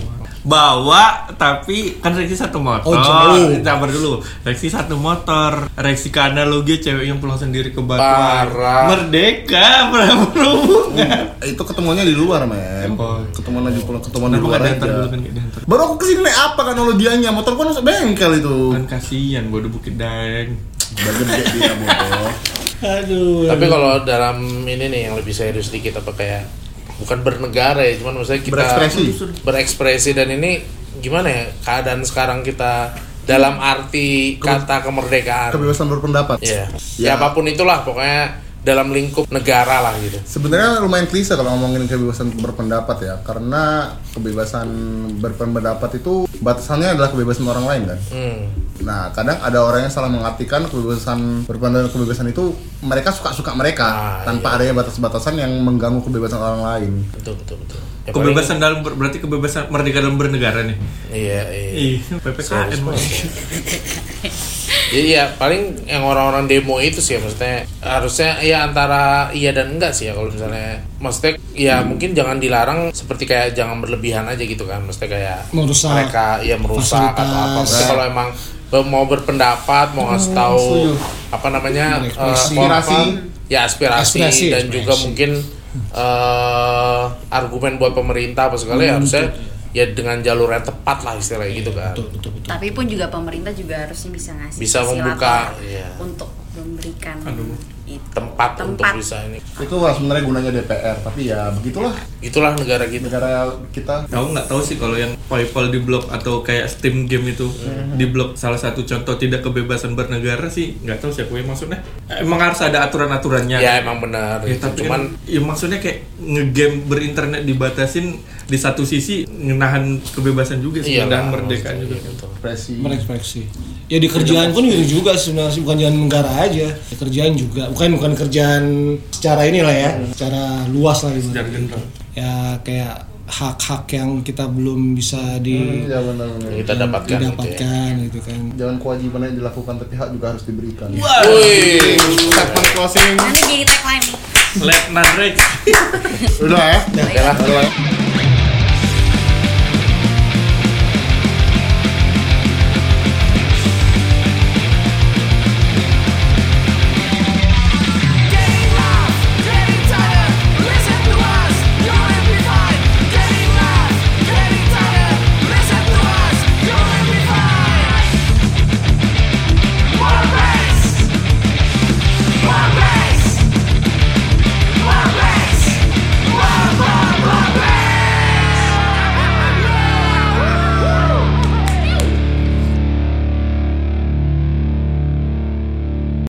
[SPEAKER 3] bawa tapi kan Reksi satu motor
[SPEAKER 4] Oh, jauh.
[SPEAKER 3] sabar dulu Reksi satu motor Reksi ke analogi cewek yang pulang sendiri ke Batuan
[SPEAKER 2] Parah.
[SPEAKER 3] merdeka [LAUGHS] berhubungan
[SPEAKER 1] Eh, Itu ketemuannya di luar men
[SPEAKER 3] Oh.
[SPEAKER 1] Ketemuan lagi pulang ketemuan di
[SPEAKER 3] kenapa
[SPEAKER 1] luar
[SPEAKER 3] gak
[SPEAKER 1] aja
[SPEAKER 3] diantar dulu kan gak diantar
[SPEAKER 1] Baru aku kesini naik apa kan ologianya Motor kan masuk bengkel itu
[SPEAKER 3] kan kasihan bodoh bukit daeng
[SPEAKER 1] Bagus dia dia bodoh
[SPEAKER 4] Aduh.
[SPEAKER 2] tapi kalau dalam ini nih yang lebih serius sedikit apa kayak bukan bernegara ya cuman maksudnya kita
[SPEAKER 1] Berekspresi.
[SPEAKER 2] berekspresi dan ini gimana ya keadaan sekarang kita dalam arti kata kemerdekaan
[SPEAKER 1] Kebebasan berpendapat
[SPEAKER 2] Iya.
[SPEAKER 1] Ya.
[SPEAKER 2] Ya. apapun itulah pokoknya dalam lingkup negara lah gitu.
[SPEAKER 1] Sebenarnya lumayan klise kalau ngomongin kebebasan berpendapat ya, karena kebebasan berpendapat itu batasannya adalah kebebasan orang lain kan.
[SPEAKER 2] Hmm.
[SPEAKER 1] Nah, kadang ada orang yang salah mengartikan kebebasan berpendapat kebebasan itu mereka suka-suka mereka
[SPEAKER 2] Ah,
[SPEAKER 1] tanpa adanya batas-batasan yang mengganggu kebebasan orang lain.
[SPEAKER 2] Betul betul betul. Ya,
[SPEAKER 3] kebebasan dalam ber- berarti kebebasan merdeka dalam bernegara nih
[SPEAKER 2] paling- Iya iya.
[SPEAKER 3] Ih, PPKN Bang.
[SPEAKER 2] Ya, Iya paling yang orang-orang demo itu sih ya, maksudnya harusnya ya antara iya dan enggak sih ya kalau misalnya maksudnya ya
[SPEAKER 4] Hmm.
[SPEAKER 2] mungkin jangan dilarang seperti kayak jangan berlebihan aja gitu kan maksudnya kayak
[SPEAKER 4] Merusak.
[SPEAKER 2] mereka ya merusak atau apa
[SPEAKER 4] Fasilitas. Hmm,
[SPEAKER 2] maksudnya kalau emang mau berpendapat mau ngasih tahu
[SPEAKER 4] setuju.
[SPEAKER 2] apa namanya eh,
[SPEAKER 4] Ekspresi.
[SPEAKER 2] apa-
[SPEAKER 1] Aspirasi.
[SPEAKER 2] ya aspirasi,
[SPEAKER 4] Aspirasi,
[SPEAKER 2] dan
[SPEAKER 4] aspirasi.
[SPEAKER 2] juga mungkin eh argumen buat pemerintah apa segala
[SPEAKER 4] Hmm,
[SPEAKER 2] ya harusnya ya dengan jalur yang tepat lah istilahnya gitu kan
[SPEAKER 4] Iya, Betul, betul, betul.
[SPEAKER 5] Tapi pun juga pemerintah juga harusnya bisa ngasih
[SPEAKER 2] Bisa
[SPEAKER 5] silaturahmi
[SPEAKER 2] membuka, iya.
[SPEAKER 5] untuk memberikan itu.
[SPEAKER 2] tempat, untuk
[SPEAKER 5] Tempat.
[SPEAKER 2] bisa ini
[SPEAKER 1] Itu lah sebenarnya gunanya DPR, tapi ya begitulah
[SPEAKER 2] itulah negara kita
[SPEAKER 1] negara kita.
[SPEAKER 3] tahu nggak tahu sih kalau yang PayPal di blok atau kayak Steam game itu di blok salah satu contoh tidak kebebasan bernegara sih nggak tahu sih aku yang maksudnya emang harus ada aturan aturannya
[SPEAKER 2] ya emang benar
[SPEAKER 3] Ya,
[SPEAKER 2] gitu.
[SPEAKER 3] tapi
[SPEAKER 2] cuman
[SPEAKER 3] cuman ya maksudnya kayak ngegame berinternet dibatasin di satu sisi ngenahan kebebasan juga sih,
[SPEAKER 2] Iya
[SPEAKER 3] ngenahan
[SPEAKER 2] lah,
[SPEAKER 3] merdekaan
[SPEAKER 2] maksudnya,
[SPEAKER 3] juga.
[SPEAKER 2] iya, betul.
[SPEAKER 1] Ekspresi.
[SPEAKER 4] Berekspresi. Ya di kerjaan pun gitu juga sih sebenarnya sih. bukan jangan negara aja, Di kerjaan juga. Bukan bukan kerjaan secara inilah ya, secara luas lah
[SPEAKER 3] Secara
[SPEAKER 4] gitu.
[SPEAKER 3] general.
[SPEAKER 4] Ya kayak hak-hak yang kita belum bisa di
[SPEAKER 1] Ya benar-benar.
[SPEAKER 2] kita dapatkan gitu ya.
[SPEAKER 4] didapatkan gitu kan.
[SPEAKER 1] Jangan kewajibannya dilakukan tapi hak juga harus diberikan.
[SPEAKER 2] Wih,
[SPEAKER 1] Segmen closing
[SPEAKER 5] Nanti jadi tagline nih.
[SPEAKER 3] Let Rex.
[SPEAKER 1] udah ya.
[SPEAKER 2] oke lah.
[SPEAKER 1] Udah ya.